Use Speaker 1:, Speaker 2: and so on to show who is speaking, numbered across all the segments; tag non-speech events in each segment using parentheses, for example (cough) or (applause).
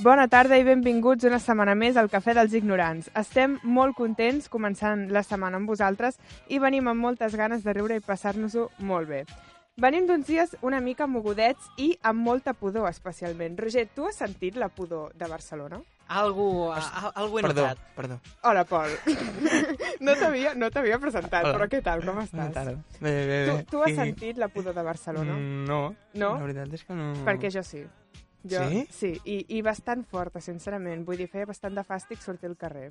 Speaker 1: Bona tarda i benvinguts una setmana més al Cafè dels Ignorants. Estem molt contents començant la setmana amb vosaltres i venim amb moltes ganes de riure i passar-nos-ho molt bé. Venim d'uns dies una mica mogudets i amb molta pudor, especialment. Roger, tu has sentit la pudor de Barcelona?
Speaker 2: Algú, a, algú he
Speaker 3: Perdó,
Speaker 2: notat.
Speaker 3: perdó.
Speaker 1: Hola, Pol. (laughs) No t'havia no t'havia presentat,
Speaker 3: Hola.
Speaker 1: però què tal? Com
Speaker 3: Bona
Speaker 1: estàs?
Speaker 3: tarda. Bé, bé, bé.
Speaker 1: Tu, tu has
Speaker 3: Sí.
Speaker 1: sentit la pudor de Barcelona?
Speaker 3: Mm, No.
Speaker 1: No?
Speaker 3: La veritat és que no...
Speaker 1: Perquè jo sí. Jo,
Speaker 3: Sí?
Speaker 1: Sí, i, i bastant forta, sincerament. Vull dir, feia bastant de fàstic sortir al carrer.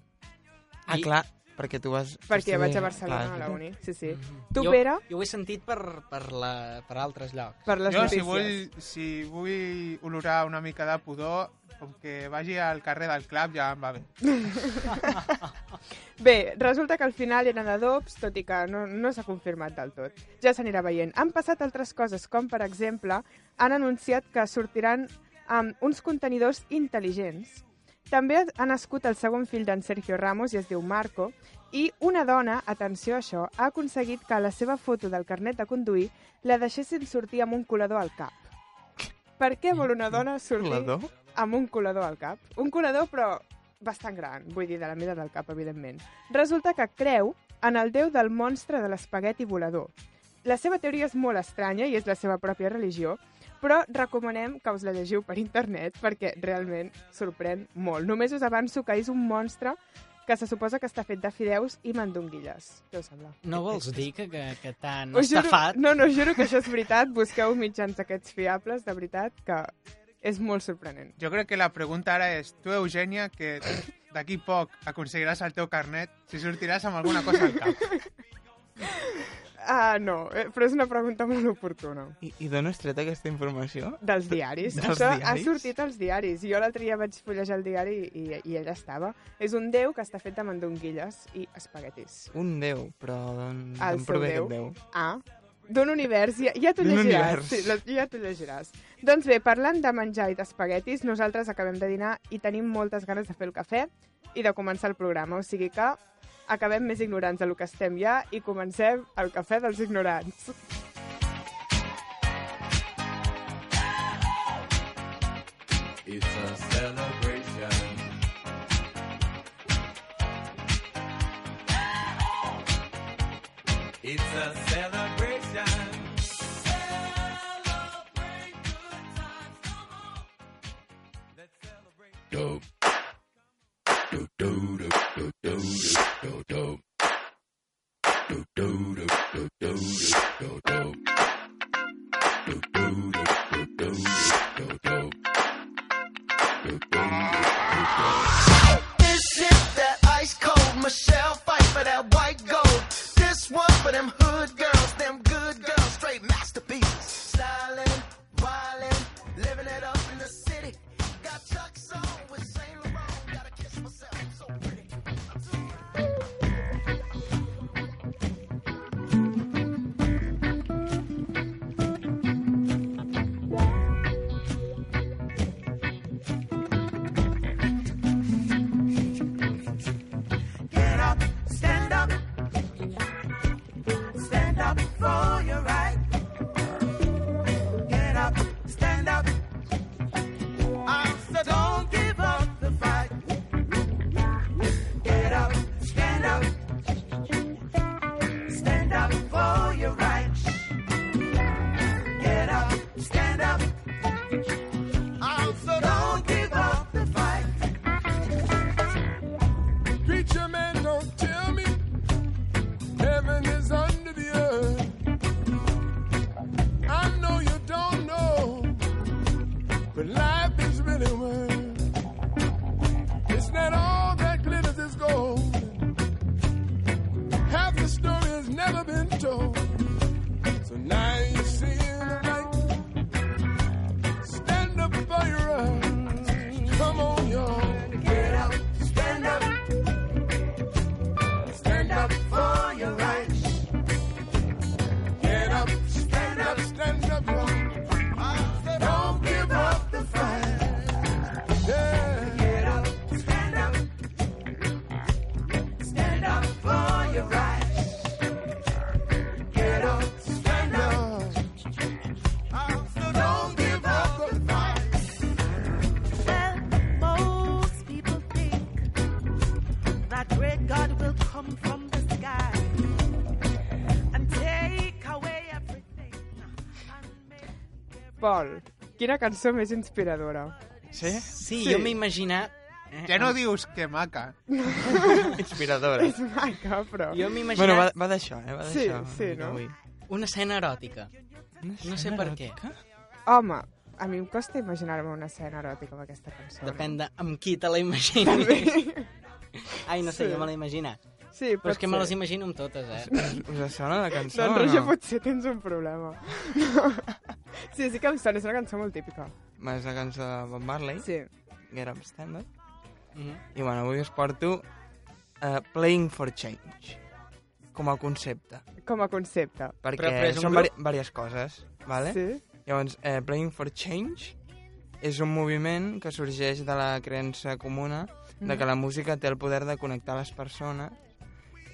Speaker 3: Ah,
Speaker 2: I-
Speaker 3: clar, perquè tu vas...
Speaker 1: Perquè
Speaker 3: vas
Speaker 1: vaig a
Speaker 3: estudiar-
Speaker 1: Barcelona
Speaker 3: clar,
Speaker 1: a la uni. Sí, sí.
Speaker 3: Mhm.
Speaker 1: Tu,
Speaker 2: jo,
Speaker 1: Pere,
Speaker 2: Jo ho he sentit per, per, la, per altres llocs.
Speaker 1: per les
Speaker 4: Jo, si
Speaker 1: notícies.
Speaker 4: vull, si vull olorar una mica de pudor, com que vagi al carrer del Clap ja em va bé.
Speaker 1: Bé, resulta que al final eren adobs, tot i que no, no s'ha confirmat del tot. Ja s'anirà veient. Han passat altres coses, com per exemple, han anunciat que sortiran um, uns contenidors intel·ligents. També ha nascut el segon fill d'en Sergio Ramos, i es diu Marco, i una dona, atenció a això, ha aconseguit que la seva foto del carnet de conduir la deixessin sortir amb un colador al cap. Per què vol una dona sortir
Speaker 3: Colador?
Speaker 1: amb un colador al cap. Un colador, però bastant gran, vull dir, de la mida del cap, evidentment. Resulta que creu en el déu del monstre de l'espagueti volador. La seva teoria és molt estranya i és la seva pròpia religió, però recomanem que us la llegiu per internet perquè realment sorprèn molt. Només us avanço que és un monstre que se suposa que està fet de fideus i mandonguilles. Què us sembla?
Speaker 3: Eh,
Speaker 2: No vols dir que, que, que t'han
Speaker 1: Us juro-
Speaker 2: estafat?
Speaker 1: No, no, us juro que això és veritat. Busqueu mitjans aquests fiables, de veritat, que és molt sorprenent.
Speaker 4: Jo crec que la pregunta ara és, tu, Eugènia, que d'aquí poc aconseguiràs el teu carnet si sortiràs amb alguna cosa al cap.
Speaker 1: Ah, no, eh, però és una pregunta molt oportuna.
Speaker 3: I, I d'on has tret aquesta informació?
Speaker 1: Dels diaris.
Speaker 3: Dels
Speaker 1: Això ha
Speaker 3: diaris?
Speaker 1: sortit als diaris. Jo l'altre dia vaig fullejar el diari i, i allà estava. És un déu que està fet de mandonguilles i espaguetis.
Speaker 3: Un déu, però d'on
Speaker 1: El
Speaker 3: d'on
Speaker 1: seu
Speaker 3: prové
Speaker 1: déu.
Speaker 3: aquest déu?
Speaker 1: Ah, d'un univers, ja, ja t'ho
Speaker 3: D'un
Speaker 1: llegiràs.
Speaker 3: univers.
Speaker 1: Sí, la- ja t'ho llegiràs. Doncs bé, parlant de menjar i d'espaguetis, nosaltres acabem de dinar i tenim moltes ganes de fer el cafè i de començar el programa, o sigui que acabem més ignorants de lo que estem ja i comencem el cafè dels ignorants.
Speaker 5: It's a celebration. It's a celebration. Dope. Do do do do do do do do do do do do do do do do do do do do
Speaker 6: This is that ice cold Michelle fight for that white gold. This one for them hood girls, them good girls, straight masterpieces. Stylin', wildin', living it up in the city. Got Chuck's on with Saint Laurent, gotta kiss myself, so pretty. Get up, stand up, stand up for your right. Get up, stand up. I said, don't give up the fight. Get up, stand up, stand up for your right. Get up, stand up. I said, don't give up the fight.
Speaker 7: Preacher man, don't tell me heaven is under the earth. I know you don't know, but life is really worth. It's not all that glitters is gold.
Speaker 8: will come from the sky and take away everything.
Speaker 1: Pol, quina cançó més inspiradora.
Speaker 9: Sí?
Speaker 2: Sí,
Speaker 1: Sí.
Speaker 2: jo m'he imaginat... eh,
Speaker 4: Ja no
Speaker 2: em-
Speaker 4: dius que maca.
Speaker 9: Inspiradora.
Speaker 1: És maca, però...
Speaker 2: Jo m'he imaginat
Speaker 9: Bueno, va, va d'això, eh? Va
Speaker 1: Sí,
Speaker 9: d'això.
Speaker 1: sí,
Speaker 9: una mica
Speaker 1: no?
Speaker 9: avui.
Speaker 2: una escena eròtica. No sé per què.
Speaker 1: Home, a mi em costa imaginar-me una escena eròtica amb aquesta cançó.
Speaker 2: Depèn de amb qui te la imaginis. (laughs) Ai, no sé,
Speaker 1: Sí.
Speaker 2: jo me la he imaginat.
Speaker 1: (laughs) Sí,
Speaker 2: Però és que me les
Speaker 1: potser.
Speaker 2: imagino amb totes, eh?
Speaker 9: Us sona la cançó
Speaker 1: Doncs,
Speaker 9: o
Speaker 1: Roger,
Speaker 9: no?
Speaker 1: potser tens un problema. (laughs) sí, sí que em sona, és una cançó molt típica.
Speaker 9: Pot... És la cançó de Bob Marley, sí.
Speaker 1: Sí.
Speaker 9: Get Up Stand Up.
Speaker 2: Mhm.
Speaker 9: I bueno, avui us porto uh, Playing for Change com a concepte,
Speaker 1: Com a concepte.
Speaker 9: perquè
Speaker 2: Però- però és un
Speaker 9: són
Speaker 2: grup?
Speaker 9: vari, diverses coses, vale?
Speaker 1: Sí?
Speaker 9: Llavors, eh, Playing for Change és un moviment que sorgeix de la creença comuna de que la música té el poder de connectar les persones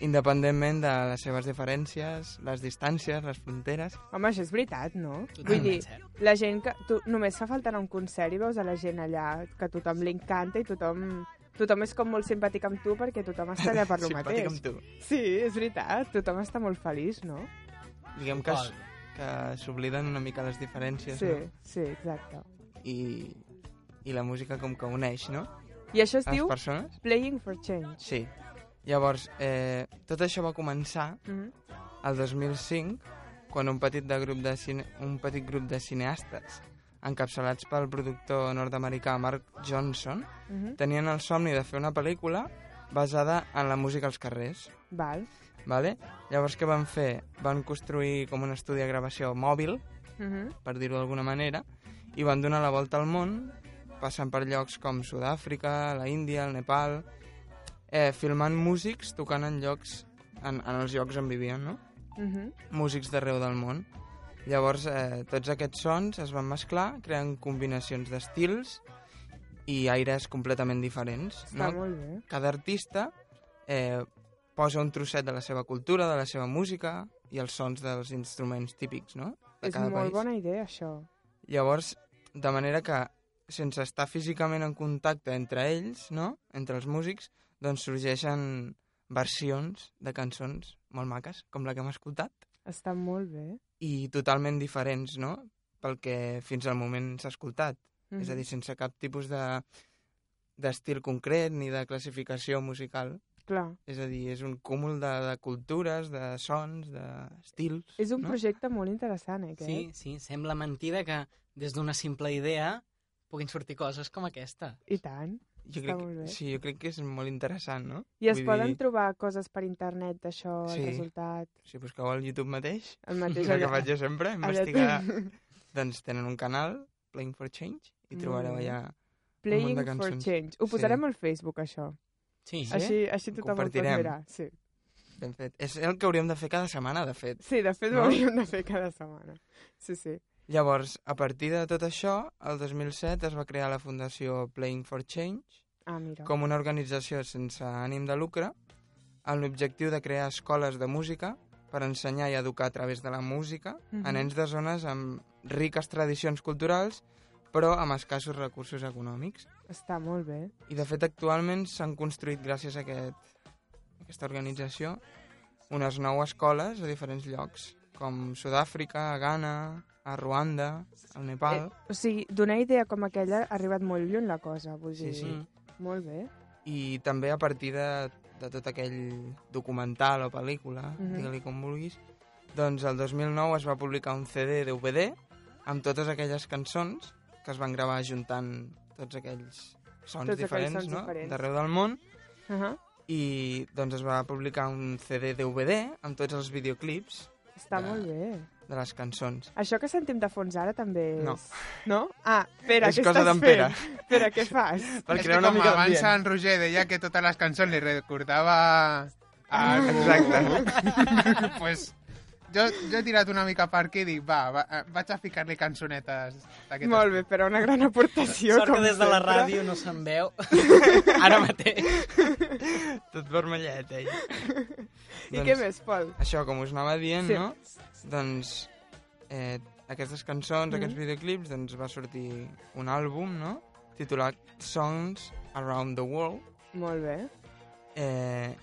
Speaker 9: independentment de les seves diferències, les distàncies, les fronteres...
Speaker 1: Home, això és veritat, no? Vull
Speaker 2: Totalment
Speaker 1: dir,
Speaker 2: cert.
Speaker 1: la gent que... Tu, només fa falta anar a un concert i veus a la gent allà que a tothom li encanta i tothom... Tothom és com molt simpàtic amb tu perquè tothom està allà per lo
Speaker 9: (laughs) Simpàtic
Speaker 1: mateix.
Speaker 9: amb tu.
Speaker 1: Sí, és veritat. Tothom està molt feliç, no?
Speaker 9: Diguem que, s- que s'obliden una mica les diferències
Speaker 1: Sí,
Speaker 9: no?
Speaker 1: sí, exacte.
Speaker 9: I, i la música com que uneix, no?
Speaker 1: I això es
Speaker 9: A les
Speaker 1: diu
Speaker 9: persones.
Speaker 1: Playing for Change.
Speaker 9: Sí. Llavors, eh, tot això va començar
Speaker 1: Mm
Speaker 9: el 2005, quan un petit, de grup de cine, un petit grup de cineastes, encapçalats pel productor nord-americà Mark Johnson,
Speaker 1: -hmm.
Speaker 9: tenien el somni de fer una pel·lícula basada en la música als carrers.
Speaker 1: Val.
Speaker 9: Vale? Llavors, què van fer? Van construir com un estudi de gravació mòbil,
Speaker 1: Mm
Speaker 9: per dir-ho d'alguna manera, i van donar la volta al món, passant per llocs com Sud-àfrica, la Índia, el Nepal, eh, filmant músics tocant en llocs en, en els llocs on vivien, no?
Speaker 1: -hmm.
Speaker 9: músics d'arreu del món. Llavors, eh, tots aquests sons es van mesclar, creant combinacions d'estils i aires completament diferents.
Speaker 1: Està
Speaker 9: No?
Speaker 1: molt bé.
Speaker 9: Cada artista eh, posa un trosset de la seva cultura, de la seva música i els sons dels instruments típics, no? De
Speaker 1: És
Speaker 9: cada
Speaker 1: molt
Speaker 9: país.
Speaker 1: bona idea, això.
Speaker 9: Llavors, de manera que, sense estar físicament en contacte entre ells, no? entre els músics, doncs sorgeixen versions de cançons molt maques, com la que hem escoltat,
Speaker 1: Està molt bé.
Speaker 9: i totalment diferents, no? Pel que fins al moment s'ha escoltat.
Speaker 1: Mm.
Speaker 9: És a dir, sense cap tipus de d'estil concret ni de classificació musical.
Speaker 1: Clar,
Speaker 9: És a dir, és un cúmul de, de cultures, de sons, d'estils...
Speaker 1: és un
Speaker 9: no?
Speaker 1: projecte molt interessant, eh, aquest.
Speaker 2: Sí, sí, sembla mentida que des d'una simple idea puguin sortir coses com aquesta.
Speaker 1: I tant.
Speaker 9: Jo
Speaker 1: Està
Speaker 9: crec,
Speaker 1: molt bé.
Speaker 9: que, sí, jo crec que és molt interessant, no?
Speaker 1: I es
Speaker 9: Vull
Speaker 1: poden
Speaker 9: dir-
Speaker 1: trobar coses per internet d'això, el
Speaker 9: Sí.
Speaker 1: resultat,
Speaker 9: Si busqueu al YouTube mateix,
Speaker 1: el mateix...
Speaker 9: és el que faig jo sempre,
Speaker 1: (laughs)
Speaker 9: investigar... Doncs tenen un canal, Playing for Change, i
Speaker 1: Molt
Speaker 9: trobareu
Speaker 1: bé.
Speaker 9: allà...
Speaker 1: Playing
Speaker 9: de
Speaker 1: for
Speaker 9: cançons.
Speaker 1: Change. Ho
Speaker 9: Sí.
Speaker 1: posarem al Facebook, això.
Speaker 2: Sí,
Speaker 9: Sí?
Speaker 1: Així, així tothom ho pot
Speaker 9: compartirem.
Speaker 1: mirar. Sí.
Speaker 9: Ben fet. És el que hauríem de fer cada setmana, de fet.
Speaker 1: sí, de fet
Speaker 9: No?
Speaker 1: ho hauríem de fer cada setmana. Sí, sí.
Speaker 9: Llavors, a partir de tot això, el 2007 es va crear la Fundació Playing for Change
Speaker 1: Ah, mira.
Speaker 9: com una organització sense ànim de lucre amb l'objectiu de crear escoles de música per ensenyar i educar a través de la música
Speaker 1: Mhm.
Speaker 9: a nens de zones amb riques tradicions culturals però amb escassos recursos econòmics.
Speaker 1: Està molt bé.
Speaker 9: I, de fet, actualment s'han construït gràcies a aquest, a aquesta organització unes nou escoles a diferents llocs, com Sud-àfrica, a Ghana, a Ruanda, al Nepal...
Speaker 1: Eh, o sigui, d'una idea com aquella ha arribat molt lluny la cosa, vull
Speaker 9: Sí,
Speaker 1: dir.
Speaker 9: sí.
Speaker 1: Molt bé.
Speaker 9: i també a partir de, de tot aquell documental o pel·lícula,
Speaker 1: Mhm.
Speaker 9: digue-li com vulguis, doncs el 2009 es va publicar un CD DVD amb totes aquelles cançons que es van gravar juntant tots aquells sons
Speaker 1: Tots aquells
Speaker 9: diferents,
Speaker 1: sons
Speaker 9: no?
Speaker 1: diferents.
Speaker 9: d'arreu del món
Speaker 1: Uh -huh.
Speaker 9: i doncs es va publicar un CD DVD amb tots els videoclips
Speaker 1: Està
Speaker 9: Ah.
Speaker 1: molt bé.
Speaker 9: de les cançons.
Speaker 1: Això que sentim de fons ara també és...
Speaker 9: No.
Speaker 1: No? Ah, Pere,
Speaker 9: És
Speaker 1: què
Speaker 9: cosa
Speaker 1: estàs
Speaker 9: d'en Pere.
Speaker 1: fent? Pere,
Speaker 9: (laughs)
Speaker 1: què fas?
Speaker 9: Per
Speaker 4: és que
Speaker 9: crear una
Speaker 4: com
Speaker 9: mica
Speaker 4: abans en
Speaker 9: d'ambient.
Speaker 4: Roger deia que totes les cançons li recordava... A...
Speaker 3: Ah,
Speaker 4: algú.
Speaker 9: Exacte.
Speaker 4: (laughs) pues, jo, jo he tirat una mica per aquí i dic, va, va eh, vaig a ficar-li cançonetes d'aquestes.
Speaker 1: Molt bé, però una gran aportació.
Speaker 2: Sort que
Speaker 1: com
Speaker 2: des de la
Speaker 1: sempre.
Speaker 2: ràdio no se'n
Speaker 1: (laughs)
Speaker 2: veu. Ara mateix.
Speaker 9: Tot vermellet, ell.
Speaker 1: I què més, Pol?
Speaker 9: això, com us anava dient,
Speaker 1: Sí.
Speaker 9: doncs. no? Doncs eh, aquestes cançons,
Speaker 1: Mhm.
Speaker 9: aquests videoclips, doncs va sortir un àlbum, no? Titulat Songs Around the World,
Speaker 1: Molt bé.
Speaker 9: eh,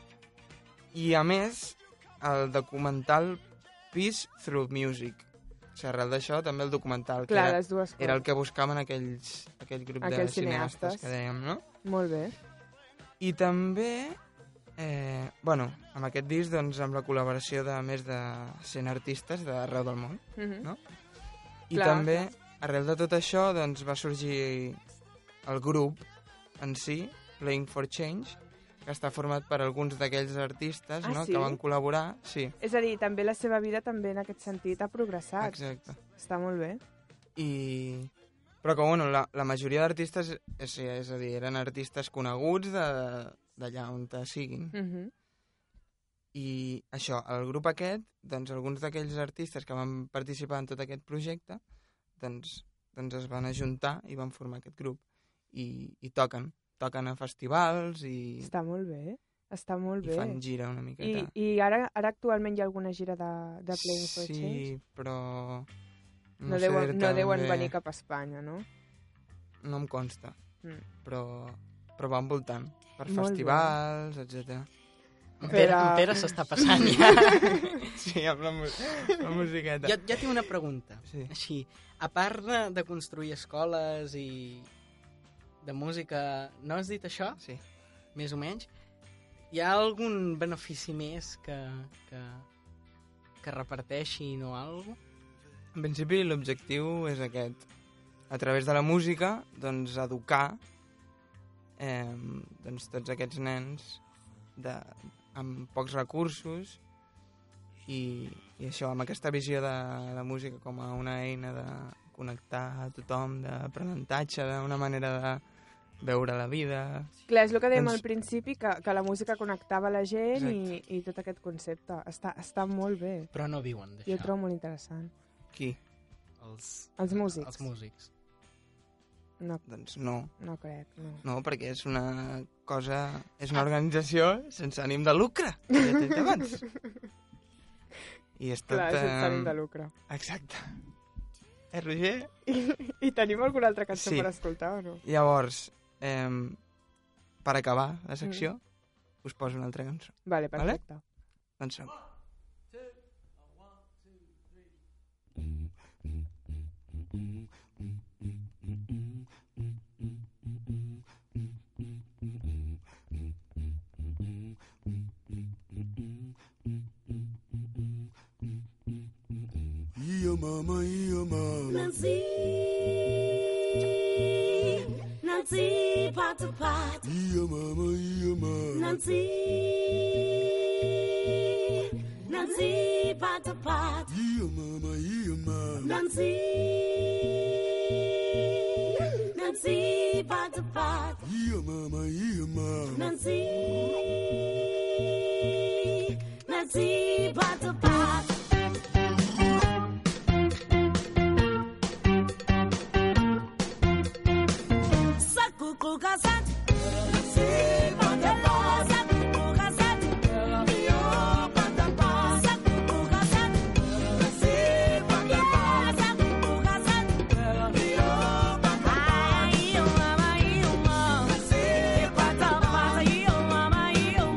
Speaker 9: I a més, el documental Peace Through Music. O sigui, arrel d'això, també el documental,
Speaker 1: Clar,
Speaker 9: que
Speaker 1: les dues
Speaker 9: era, era el
Speaker 1: coses.
Speaker 9: que buscaven aquells, aquell grup
Speaker 1: Aquells
Speaker 9: de cineastes,
Speaker 1: cineastes.
Speaker 9: que dèiem, no?
Speaker 1: Molt bé.
Speaker 9: I també, eh, bueno, amb aquest disc, doncs, amb la col·laboració de més de 100 artistes d'arreu del món.
Speaker 1: Mm -hmm.
Speaker 9: No? I
Speaker 1: Clar,
Speaker 9: també, arrel de tot això, doncs, va sorgir el grup en si, Playing for Change, que està format per alguns d'aquells artistes
Speaker 1: Ah,
Speaker 9: no?
Speaker 1: sí?
Speaker 9: que van col·laborar. Sí,
Speaker 1: És a dir, també la seva vida també en aquest sentit ha progressat.
Speaker 9: exacte.
Speaker 1: Està molt bé.
Speaker 9: I... Però que, bueno, la, la majoria d'artistes, és, és a dir, eren artistes coneguts de- d'allà on te siguin.
Speaker 1: Mm -hmm.
Speaker 9: I això, el grup aquest, doncs alguns d'aquells artistes que van participar en tot aquest projecte, doncs, doncs es van ajuntar i van formar aquest grup. I, i toquen, toquen a festivals i,
Speaker 1: Està molt bé. Està molt
Speaker 9: i
Speaker 1: bé.
Speaker 9: fan gira una
Speaker 1: I,
Speaker 9: miqueta.
Speaker 1: I ara ara actualment hi ha alguna gira de, de Playing for
Speaker 9: sí,
Speaker 1: Change?
Speaker 9: però... No,
Speaker 1: No,
Speaker 9: sé
Speaker 1: deuen,
Speaker 9: dir-te
Speaker 1: no deuen
Speaker 9: ben bé.
Speaker 1: venir cap a Espanya, no?
Speaker 9: No em consta,
Speaker 1: Mm.
Speaker 9: però, però van voltant per
Speaker 1: Molt bé.
Speaker 9: festivals, etc.
Speaker 2: En Pere,
Speaker 1: Però-
Speaker 2: en Pere s'està passant
Speaker 1: (laughs)
Speaker 2: ja.
Speaker 9: Sí, amb la, mu la musiqueta.
Speaker 2: jo, jo tinc una pregunta.
Speaker 9: Sí.
Speaker 2: Així, a part de, de construir escoles i de música, no has dit això?
Speaker 9: Sí.
Speaker 2: Més o menys. Hi ha algun benefici més que, que, que reparteixin o alguna cosa?
Speaker 9: En principi l'objectiu és aquest. A través de la música, doncs, educar eh, doncs, tots aquests nens de, amb pocs recursos i, i això, amb aquesta visió de la música com a una eina de connectar a tothom, d'aprenentatge, d'una manera de veure la vida...
Speaker 1: Clar, és el que dèiem
Speaker 9: Doncs-
Speaker 1: al principi, que, que la música connectava la gent i, i tot aquest concepte. Està, està molt bé.
Speaker 2: Però no viuen
Speaker 1: Jo ho
Speaker 2: d'això.
Speaker 1: trobo molt interessant.
Speaker 9: Qui?
Speaker 2: Els,
Speaker 1: Els músics.
Speaker 2: Els músics.
Speaker 1: No,
Speaker 9: Doncs no,
Speaker 1: no crec, no.
Speaker 9: no, perquè és una cosa... És
Speaker 1: Ah.
Speaker 9: una organització sense ànim de lucre, ja t'he dit abans. I és tot... eh,
Speaker 1: Clar, sense ànim
Speaker 9: em,
Speaker 1: de lucre.
Speaker 9: Exacte. Eh, Roger?
Speaker 1: I tenim alguna altra cançó
Speaker 9: Sí.
Speaker 1: per escoltar o no?
Speaker 9: Llavors, eh, per acabar la secció,
Speaker 1: Mm.
Speaker 9: us poso una altra cançó.
Speaker 1: Vale,
Speaker 9: Vale.
Speaker 1: perfecte.
Speaker 9: Doncs som.
Speaker 5: Yeah, mama, yeah, mama.
Speaker 6: Nancy, Nancy, pot to pot.
Speaker 5: Yeah, mama, yeah, mama.
Speaker 6: Nancy, Nancy, pot to pot.
Speaker 5: Yeah, mama, yeah, mama.
Speaker 6: Nancy, Nancy, pot to pot.
Speaker 5: Yeah, mama, yeah, mama.
Speaker 6: Nancy, Nancy, pot to pot. Sakukugasat. Ai, eu amo, eu amo. Sim, pata, pata, eu amo, eu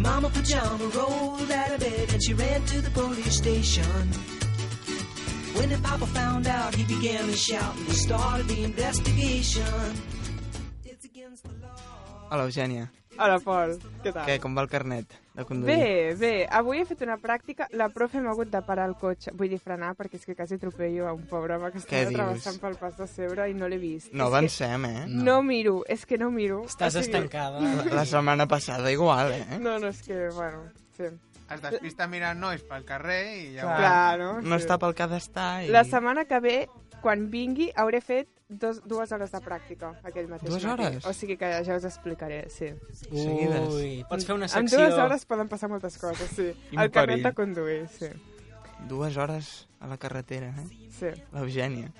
Speaker 10: Mama Pajama rolled out of bed and she ran to the police station. When the Papa found out, he began to shout and we started the investigation.
Speaker 9: Hola, Eugènia.
Speaker 1: Hola, Pol. Què tal?
Speaker 9: Què, com va el carnet de conduir?
Speaker 1: Bé, bé. Avui he fet una pràctica. La profe m'ha hagut de parar el cotxe. Vull dir, frenar, perquè és que quasi atropello a un pobre home que està
Speaker 9: Què dius?
Speaker 1: travessant pel pas de Segre i no l'he vist.
Speaker 9: No
Speaker 1: és
Speaker 9: avancem, eh?
Speaker 1: que no. no miro, és que no miro.
Speaker 2: Estàs estancada.
Speaker 9: La, la setmana passada igual, eh?
Speaker 1: No, no, és que, bueno, sí.
Speaker 4: Es despista mirant nois pel carrer i ja...
Speaker 1: Clar, Clar no?
Speaker 9: No està pel que ha d'estar i...
Speaker 1: La setmana que ve, quan vingui, hauré fet dos, dues hores de pràctica aquell mateix
Speaker 9: Dues
Speaker 1: matí.
Speaker 9: hores?
Speaker 1: O sigui que ja us explicaré, sí.
Speaker 9: Seguides.
Speaker 2: Ui, pots fer una
Speaker 1: En
Speaker 2: secció...
Speaker 1: dues hores poden passar moltes coses, sí.
Speaker 9: Quin
Speaker 1: El carnet
Speaker 9: perill.
Speaker 1: de conduir, sí.
Speaker 9: Dues hores a la carretera, eh?
Speaker 1: Sí,
Speaker 9: L'Eugènia.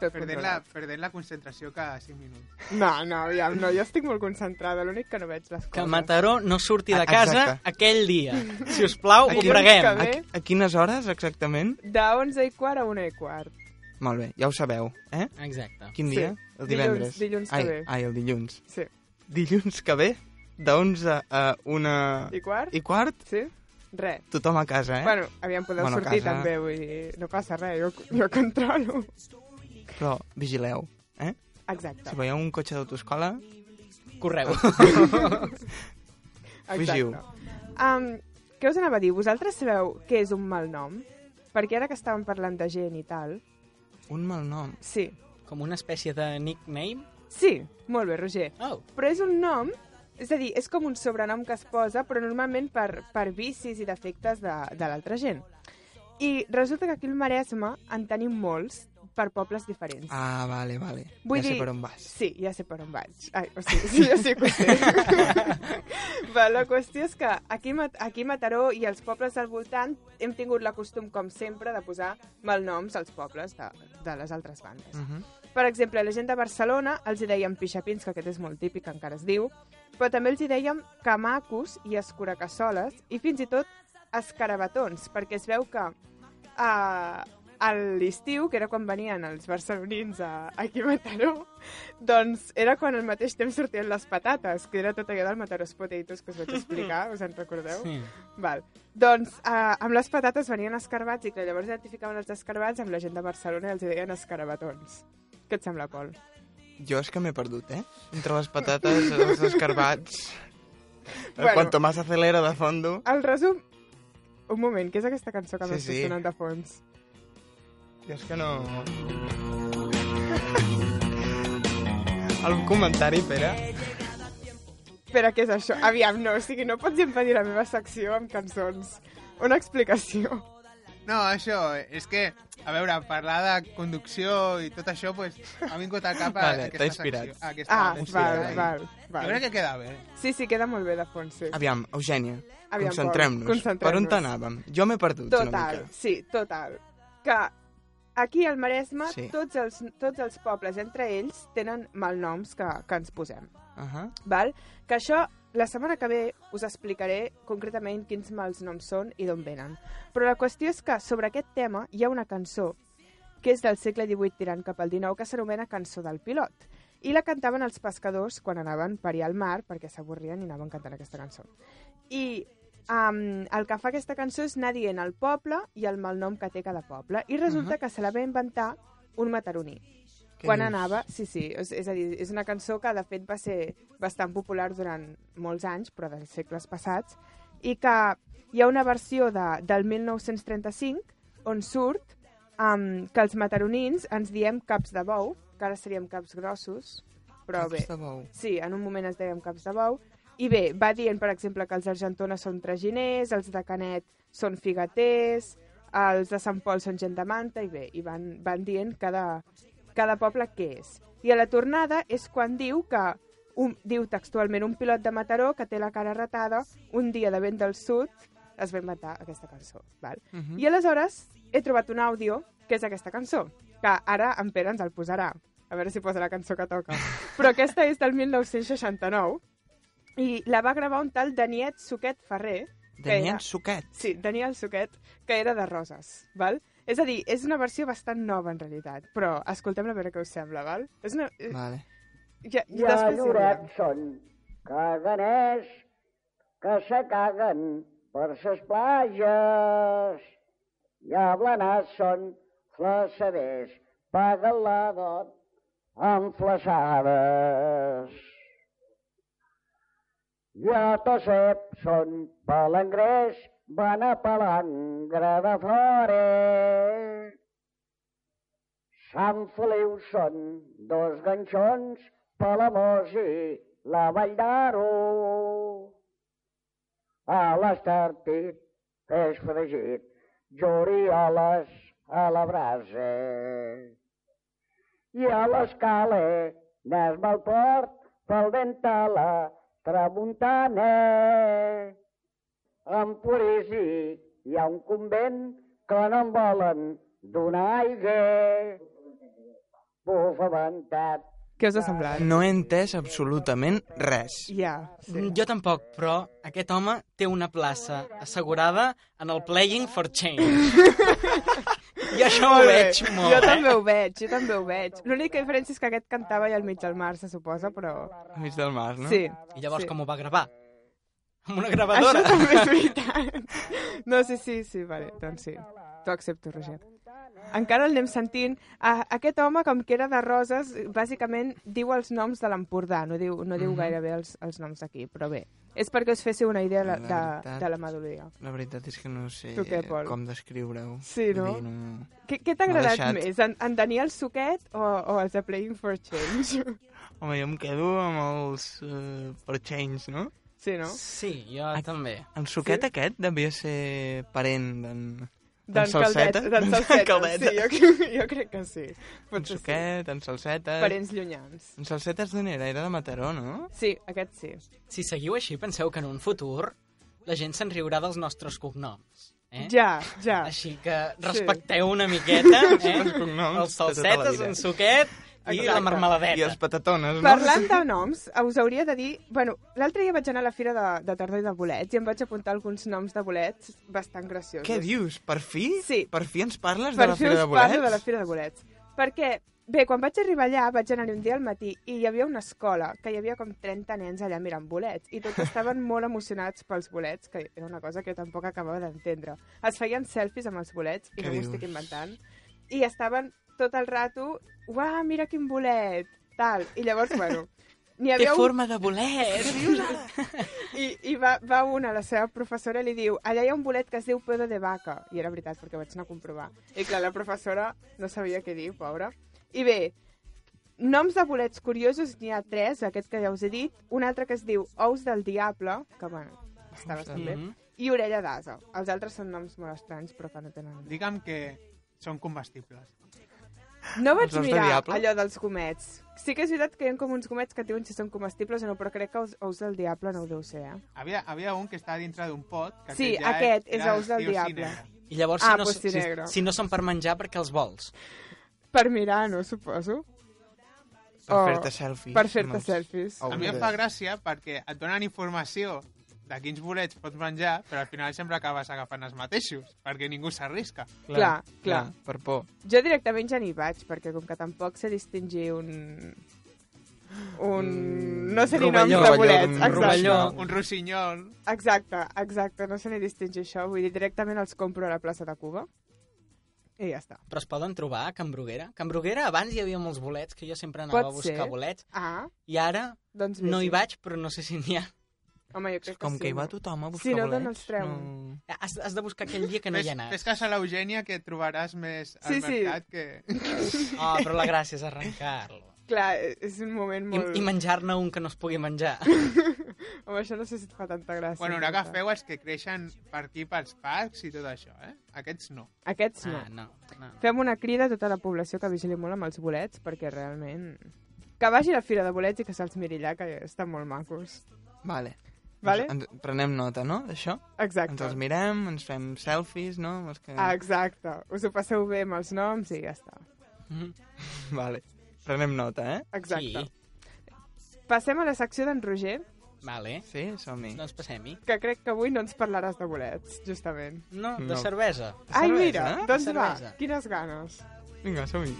Speaker 1: tot
Speaker 4: Perdent la,
Speaker 1: controlat.
Speaker 4: perdent la concentració cada 5 minuts.
Speaker 1: No, no, ja, no, jo estic molt concentrada, l'únic que no veig les coses.
Speaker 2: Que Mataró no surti de
Speaker 9: Ah,
Speaker 2: casa
Speaker 9: exacte.
Speaker 2: aquell dia. Si us plau, ho
Speaker 1: Dilluns que
Speaker 2: preguem.
Speaker 1: ve,
Speaker 9: A, a quines hores, exactament?
Speaker 1: De 11 i quart a 1 i quart.
Speaker 9: Molt bé, ja ho sabeu, eh?
Speaker 2: Exacte.
Speaker 9: Quin
Speaker 1: Sí.
Speaker 9: dia? El
Speaker 1: Dilluns-
Speaker 9: divendres.
Speaker 1: dilluns que
Speaker 9: ai,
Speaker 1: ve.
Speaker 9: Ai, el dilluns.
Speaker 1: Sí.
Speaker 9: Dilluns que ve, de 11 a 1
Speaker 1: I quart?
Speaker 9: i quart,
Speaker 1: Sí? Res.
Speaker 9: tothom a casa, eh?
Speaker 1: Bueno, aviam, podeu
Speaker 9: Bueno,
Speaker 1: bueno, sortir
Speaker 9: casa-
Speaker 1: casa... també, vull dir, no passa res, jo, jo controlo.
Speaker 9: Però vigileu, eh?
Speaker 1: Exacte.
Speaker 9: Si veieu un cotxe d'autoescola,
Speaker 2: Correu.
Speaker 9: fugiu.
Speaker 1: Exacte. Um, què us anava a dir? Vosaltres sabeu què és un mal nom? Perquè ara que estàvem parlant de gent i tal...
Speaker 9: Un mal nom.
Speaker 1: Sí,
Speaker 2: Com una espècie de nickname.
Speaker 1: sí, molt bé, Roger.
Speaker 2: Oh,
Speaker 1: Però és un nom, és a dir, és com un sobrenom que es posa, però normalment per, per vicis i defectes de, de l'altra gent. I resulta que aquí al Maresme en tenim molts per pobles diferents.
Speaker 9: Ah, vale, vale.
Speaker 1: Vull
Speaker 9: ja
Speaker 1: dir,
Speaker 9: sé per on vas.
Speaker 1: Sí, ja sé per on vaig. Ai, o sigui, sí, ja sé que ho sé. Va, la qüestió és que aquí, a Mat- aquí a Mataró i els pobles del voltant hem tingut la costum, com sempre, de posar malnoms als pobles de, de les altres bandes.
Speaker 9: Uh -huh.
Speaker 1: Per exemple, la gent de Barcelona els hi deien pixapins, que aquest és molt típic, encara es diu, però també els hi dèiem camacos i escuracassoles i fins i tot escarabatons, perquè es veu que eh, a l'estiu, que era quan venien els barcelonins a, aquí a Mataró, doncs era quan al mateix temps sortien les patates, que era tot allò del Matarós Potatoes que us vaig explicar, us en recordeu?
Speaker 2: sí.
Speaker 1: Val. Doncs eh, amb les patates venien escarbats i que llavors identificaven els escarbats amb la gent de Barcelona i els hi deien escarabatons. Què et sembla, Pol?
Speaker 9: Jo és que m'he perdut, eh? Entre les patates, els escarbats... Bueno.
Speaker 1: Bueno.
Speaker 9: Cuanto más acelera de fondo...
Speaker 1: El resum... Un moment, què és aquesta cançó que
Speaker 9: Sí,
Speaker 1: m'està
Speaker 9: sí.
Speaker 1: sonant de fons?
Speaker 9: Jo és que no... (laughs) Algun comentari, Pere?
Speaker 1: Però què és això? Aviam, no, o sigui, no pots impedir la meva secció amb cançons. Una explicació.
Speaker 4: No, això, és que, a veure, parlar de conducció i tot això, pues, ha vingut al cap a
Speaker 9: Vale, t'ha
Speaker 4: aquesta
Speaker 9: inspirat.
Speaker 4: secció. Aquesta,
Speaker 1: Ah,
Speaker 4: aquesta
Speaker 1: val,
Speaker 9: eh?
Speaker 4: secció. eh?
Speaker 1: val,
Speaker 4: Jo
Speaker 1: val.
Speaker 4: crec que queda bé.
Speaker 1: Sí, sí, queda molt bé de fons, sí.
Speaker 9: Aviam, Eugènia,
Speaker 1: Aviam,
Speaker 9: concentrem-nos.
Speaker 1: Pol, concentrem-nos.
Speaker 9: Per on t'anàvem? Jo m'he perdut una
Speaker 1: Total,
Speaker 9: mica.
Speaker 1: sí, total. Que aquí al Maresme
Speaker 9: Sí.
Speaker 1: sí. tots, els, tots els pobles, entre ells, tenen malnoms que, que ens posem.
Speaker 9: Uh -huh.
Speaker 1: Val? Que això, la setmana que ve, us explicaré concretament quins mals noms són i d'on venen. Però la qüestió és que sobre aquest tema hi ha una cançó que és del segle XVIII tirant cap al XIX, que s'anomena Cançó del Pilot. I la cantaven els pescadors quan anaven per allà al mar, perquè s'avorrien i anaven cantant aquesta cançó. I um, el que fa aquesta cançó és anar dient el poble i el malnom que té cada poble. I resulta uh -huh. que se la va inventar un mataroní
Speaker 9: Què
Speaker 1: quan
Speaker 9: dius?
Speaker 1: anava, sí, sí, és, és a dir, és una cançó que de fet va ser bastant popular durant molts anys, però dels segles passats, i que hi ha una versió de, del 1935 on surt um, que els mataronins ens diem caps de bou, que ara seríem caps grossos, però
Speaker 9: Caps
Speaker 1: bé,
Speaker 9: de bou.
Speaker 1: sí, en un moment es dèiem caps de bou, i bé, va dient, per exemple, que els argentones són traginers, els de Canet són figaters, els de Sant Pol són gent de manta, i bé, i van, van dient cada, cada poble què és. I a la tornada és quan diu que, un, diu textualment, un pilot de Mataró que té la cara retada, un dia de vent del sud, es va inventar aquesta cançó. Val? Uh -huh. I aleshores he trobat un àudio que és aquesta cançó, que ara en Pere ens el posarà. A veure si posa la cançó que toca. Però aquesta és del 1969 i la va gravar un tal Daniel Suquet Ferrer, que era-
Speaker 9: Daniel Suquet.
Speaker 1: Sí, Daniel Suquet, que era de Roses, val? És a dir, és una versió bastant nova, en realitat, però escoltem-la a veure què us sembla, val? És una... eh,
Speaker 9: Vale.
Speaker 1: Ja, ja,
Speaker 11: Ja
Speaker 1: després hi
Speaker 11: llorat
Speaker 1: veurem.
Speaker 11: són, caganers, que se caguen per ses plages. I a Blanes són flassaders, paguen la dot amb flassades. I a Tosep són palangrers, van a palangre de fores. Sant Feliu són dos ganxons, Palamós i la Vall d'Aro. A l'estartit, peix fregit, jorioles a la brasa. I a l'escala, n'és mal port, pel vent a la tramuntana. Amb Porisi hi ha un convent que no en volen donar aigua. Bufa ventat,
Speaker 1: Què us ha semblat?
Speaker 9: No he entès absolutament res.
Speaker 1: Ja, sí.
Speaker 2: Jo tampoc, però aquest home té una plaça assegurada en el Playing for
Speaker 1: (laughs)
Speaker 2: Change. I això ho
Speaker 1: Molt bé.
Speaker 2: veig molt.
Speaker 1: Jo
Speaker 2: eh?
Speaker 1: també ho veig, jo també ho veig. L'única diferència és que aquest cantava ja al mig del mar, se suposa, però...
Speaker 9: Al mig del mar, no?
Speaker 1: Sí.
Speaker 2: I llavors
Speaker 1: sí.
Speaker 2: com ho va gravar? Amb una gravadora?
Speaker 1: Això
Speaker 9: (laughs)
Speaker 1: també és veritat. No, sí, sí, sí, vale, doncs sí. T'ho accepto, Roger. Encara el anem sentint. A, aquest home, com que era de Roses, bàsicament diu els noms de l'Empordà, no diu, no diu
Speaker 9: Mhm.
Speaker 1: gairebé els, els noms d'aquí, però bé. És perquè us féssiu una idea de,
Speaker 9: La
Speaker 1: de,
Speaker 9: veritat-
Speaker 1: de la melodia.
Speaker 9: La veritat és que no sé
Speaker 1: Tu què, Pol?
Speaker 9: com descriure-ho.
Speaker 1: Sí, no?
Speaker 9: Vull dir, no...
Speaker 1: Què, què
Speaker 9: M'ha
Speaker 1: t'ha agradat
Speaker 9: deixat.
Speaker 1: més, en, en Daniel Suquet o, o els de Playing for Change? (laughs)
Speaker 9: Home, jo em quedo amb els uh, per change, no?
Speaker 1: Sí, no?
Speaker 9: Doncs
Speaker 2: Sí, jo també.
Speaker 9: El suquet sí? aquest devia ser parent d'en...
Speaker 1: D'en Caldet, d'en
Speaker 9: (laughs)
Speaker 1: Salseta. doncs Sí, jo, jo crec que sí.
Speaker 9: En
Speaker 1: Potser sí.
Speaker 9: Suquet, en Salseta...
Speaker 1: Parents llunyans.
Speaker 9: En Salsetes d'on era? Era de Mataró, no?
Speaker 1: Sí, aquest sí.
Speaker 9: Eh?
Speaker 2: Si seguiu així, penseu que en un futur la gent se'n riurà dels nostres cognoms. Eh?
Speaker 1: Ja, ja.
Speaker 2: Així que
Speaker 1: Sí.
Speaker 2: respecteu sí. una miqueta eh?
Speaker 9: Els nostres cognoms
Speaker 2: els
Speaker 9: de tota la
Speaker 2: salsetes,
Speaker 9: vida.
Speaker 2: en suquet i
Speaker 1: Exacte.
Speaker 2: la marmeladeta.
Speaker 9: I els patatones, no?
Speaker 1: Parlant de noms, us hauria de dir... Bueno, l'altre dia vaig anar a la fira de, de Tardor i de bolets i em vaig apuntar alguns noms de bolets bastant graciosos.
Speaker 9: Què dius? Per fi?
Speaker 1: Sí.
Speaker 9: Per fi ens parles
Speaker 1: Per
Speaker 9: de la
Speaker 1: fi
Speaker 9: Fira
Speaker 1: us
Speaker 9: de Bolets?
Speaker 1: parlo de la Fira de Bolets. Perquè, bé, quan vaig arribar allà, vaig anar-hi un dia al matí i hi havia una escola que hi havia com 30 nens allà mirant bolets i tots estaven molt emocionats pels bolets, que era una cosa que jo tampoc acabava d'entendre. Es feien selfies amb els bolets, i
Speaker 12: Què
Speaker 1: no m'ho
Speaker 12: dius?
Speaker 1: estic inventant, i estaven tot el rato, uah, mira quin bolet, tal. I llavors, bueno, n'hi havia
Speaker 2: Té
Speaker 1: un...
Speaker 2: forma de bolet.
Speaker 1: I, i va, va una, la seva professora, i li diu allà hi ha un bolet que es diu pedo de vaca. I era veritat, perquè ho vaig anar a comprovar. I clar, la professora no sabia què dir, pobra. I bé, noms de bolets curiosos n'hi ha tres, aquest que ja us he dit, un altre que es diu ous del diable, que bueno, està bastant bé,
Speaker 2: Mm-hmm.
Speaker 4: Mhm.
Speaker 1: i orella d'asa. Els altres són noms molt estranys, però que no tenen...
Speaker 4: Digue'm que són comestibles.
Speaker 1: No vaig
Speaker 4: Els ous de
Speaker 1: mirar
Speaker 4: diable?
Speaker 1: allò dels gomets. Sí que és veritat que hi ha com uns gomets que et diuen si són comestibles o no, però crec que els ous del diable no ho deu ser, eh?
Speaker 4: Havia, havia un que estava dintre d'un pot. Que
Speaker 1: Sí,
Speaker 4: ja
Speaker 1: aquest és
Speaker 4: era
Speaker 1: ous del
Speaker 4: sí o sí
Speaker 1: diable.
Speaker 4: negre.
Speaker 2: I llavors,
Speaker 1: Ah,
Speaker 2: si, no,
Speaker 1: pues sí,
Speaker 2: si,
Speaker 1: negre.
Speaker 2: si no són per menjar, perquè els vols.
Speaker 1: Per mirar, no, suposo.
Speaker 4: Per
Speaker 1: O-
Speaker 4: fer-te selfies
Speaker 1: Oh.
Speaker 4: Oh,
Speaker 1: Per
Speaker 4: amb
Speaker 1: fer-te
Speaker 4: els-
Speaker 1: selfies.
Speaker 9: Oh,
Speaker 4: A mi em fa gràcia perquè et donen informació de quins bolets pots menjar, però al final sempre acabes agafant els mateixos, perquè ningú s'arrisca.
Speaker 1: Clar, Ah, Clar, clar.
Speaker 9: Per por.
Speaker 1: Jo directament ja n'hi vaig, perquè com que tampoc sé distingir un... Un... no sé ni noms
Speaker 4: Mm, rovelló.
Speaker 1: de
Speaker 4: Rovelló,
Speaker 1: bolets.
Speaker 4: un
Speaker 1: exacte.
Speaker 4: rovelló. Un rossinyol.
Speaker 1: Exacte, exacte, no sé ni distingir això. Vull dir, directament els compro a la plaça de Cuba. I ja està.
Speaker 2: Però es poden trobar a Can Bruguera. Can Bruguera abans hi havia molts bolets, que jo sempre anava
Speaker 1: Pot
Speaker 2: a buscar
Speaker 1: ser.
Speaker 2: bolets.
Speaker 1: Ah.
Speaker 2: I ara
Speaker 1: Doncs bé,
Speaker 2: no
Speaker 1: sí.
Speaker 2: hi vaig, però no sé si n'hi ha.
Speaker 1: Home, jo crec
Speaker 9: Com
Speaker 1: que,
Speaker 9: que hi
Speaker 1: sí,
Speaker 9: va
Speaker 1: no?
Speaker 9: tothom a buscar
Speaker 1: Si no,
Speaker 9: bolets,
Speaker 1: doncs els treuen.
Speaker 9: no-
Speaker 2: Has, has de buscar aquell dia que no hi ha anat.
Speaker 4: Fes cas a l'Eugènia que trobaràs més al
Speaker 1: Sí, sí.
Speaker 4: mercat que...
Speaker 2: Ah, però la gràcia és arrencar-lo.
Speaker 1: (laughs) Clar, és un moment
Speaker 2: I,
Speaker 1: molt...
Speaker 2: i menjar-ne un que no es pugui menjar.
Speaker 1: Home, això no sé si et fa tanta gràcia.
Speaker 4: Bueno, no
Speaker 1: en veritat.
Speaker 4: agafeu els que creixen per aquí, pels parcs i tot això, eh? Aquests no.
Speaker 1: Aquests no.
Speaker 4: Ah, no, no.
Speaker 1: Fem una crida a tota la població que vigili molt amb els bolets, perquè realment... Que vagi a la fira de bolets i que se'ls miri allà, que estan molt macos.
Speaker 9: Vale.
Speaker 1: Vale?
Speaker 9: Ens, ens prenem nota, no, d'això?
Speaker 1: Exacte.
Speaker 9: Ens els mirem, ens fem selfies, no? amb Els que...
Speaker 1: Ah, exacte. Us ho passeu bé amb els noms i ja està.
Speaker 9: (laughs) Vale. Prenem nota, eh?
Speaker 1: Exacte. Passem a la secció d'en Roger,
Speaker 2: Vale.
Speaker 9: Sí, som-hi.
Speaker 2: Doncs passem-hi.
Speaker 1: que crec que avui no ens parlaràs de bolets, justament.
Speaker 2: No, de cervesa.
Speaker 1: Ai,
Speaker 2: De
Speaker 1: mira,
Speaker 2: cervesa.
Speaker 9: eh?
Speaker 1: doncs
Speaker 2: De
Speaker 1: va,
Speaker 2: cervesa.
Speaker 1: quines ganes.
Speaker 9: Vinga, som-hi.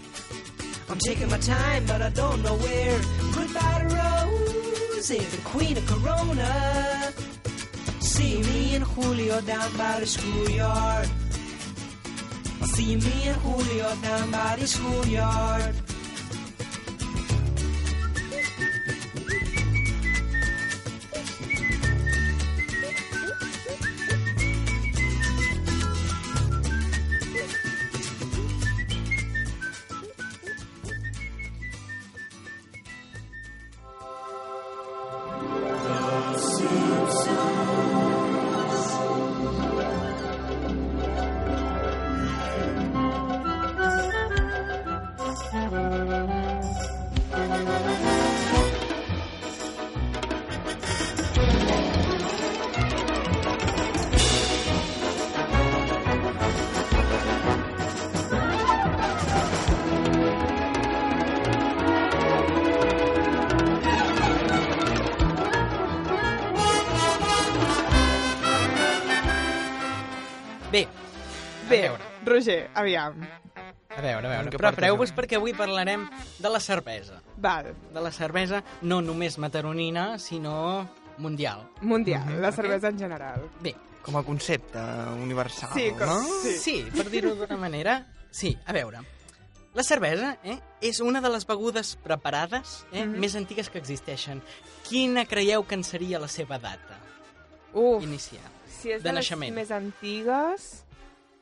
Speaker 10: I'm taking my time, but I don't know where. Goodbye to Rose, the queen of Corona. see me and Julio down by the schoolyard. I'll see me and Julio down by the schoolyard.
Speaker 2: Bé,
Speaker 1: Bé, Roger, aviam.
Speaker 2: a veure, a veure.
Speaker 9: Que
Speaker 2: Prepareu-vos
Speaker 9: parta,
Speaker 2: perquè avui parlarem de la cervesa.
Speaker 1: Val,
Speaker 2: De la cervesa no només mataronina, sinó mundial.
Speaker 1: mundial,
Speaker 9: Mhm,
Speaker 1: la
Speaker 9: ok.
Speaker 1: cervesa en general.
Speaker 2: Bé,
Speaker 9: Com a concepte universal,
Speaker 1: Sí, com-
Speaker 9: no?
Speaker 1: sí.
Speaker 2: Sí, per dir-ho d'una manera, sí, a veure. La cervesa eh, és una de les begudes preparades eh,
Speaker 1: Mhm.
Speaker 2: més antigues que existeixen. Quina creieu que en seria la seva data
Speaker 1: Uf,
Speaker 2: inicial?
Speaker 1: si és
Speaker 2: de
Speaker 1: de, les
Speaker 2: naixement.
Speaker 1: més antigues...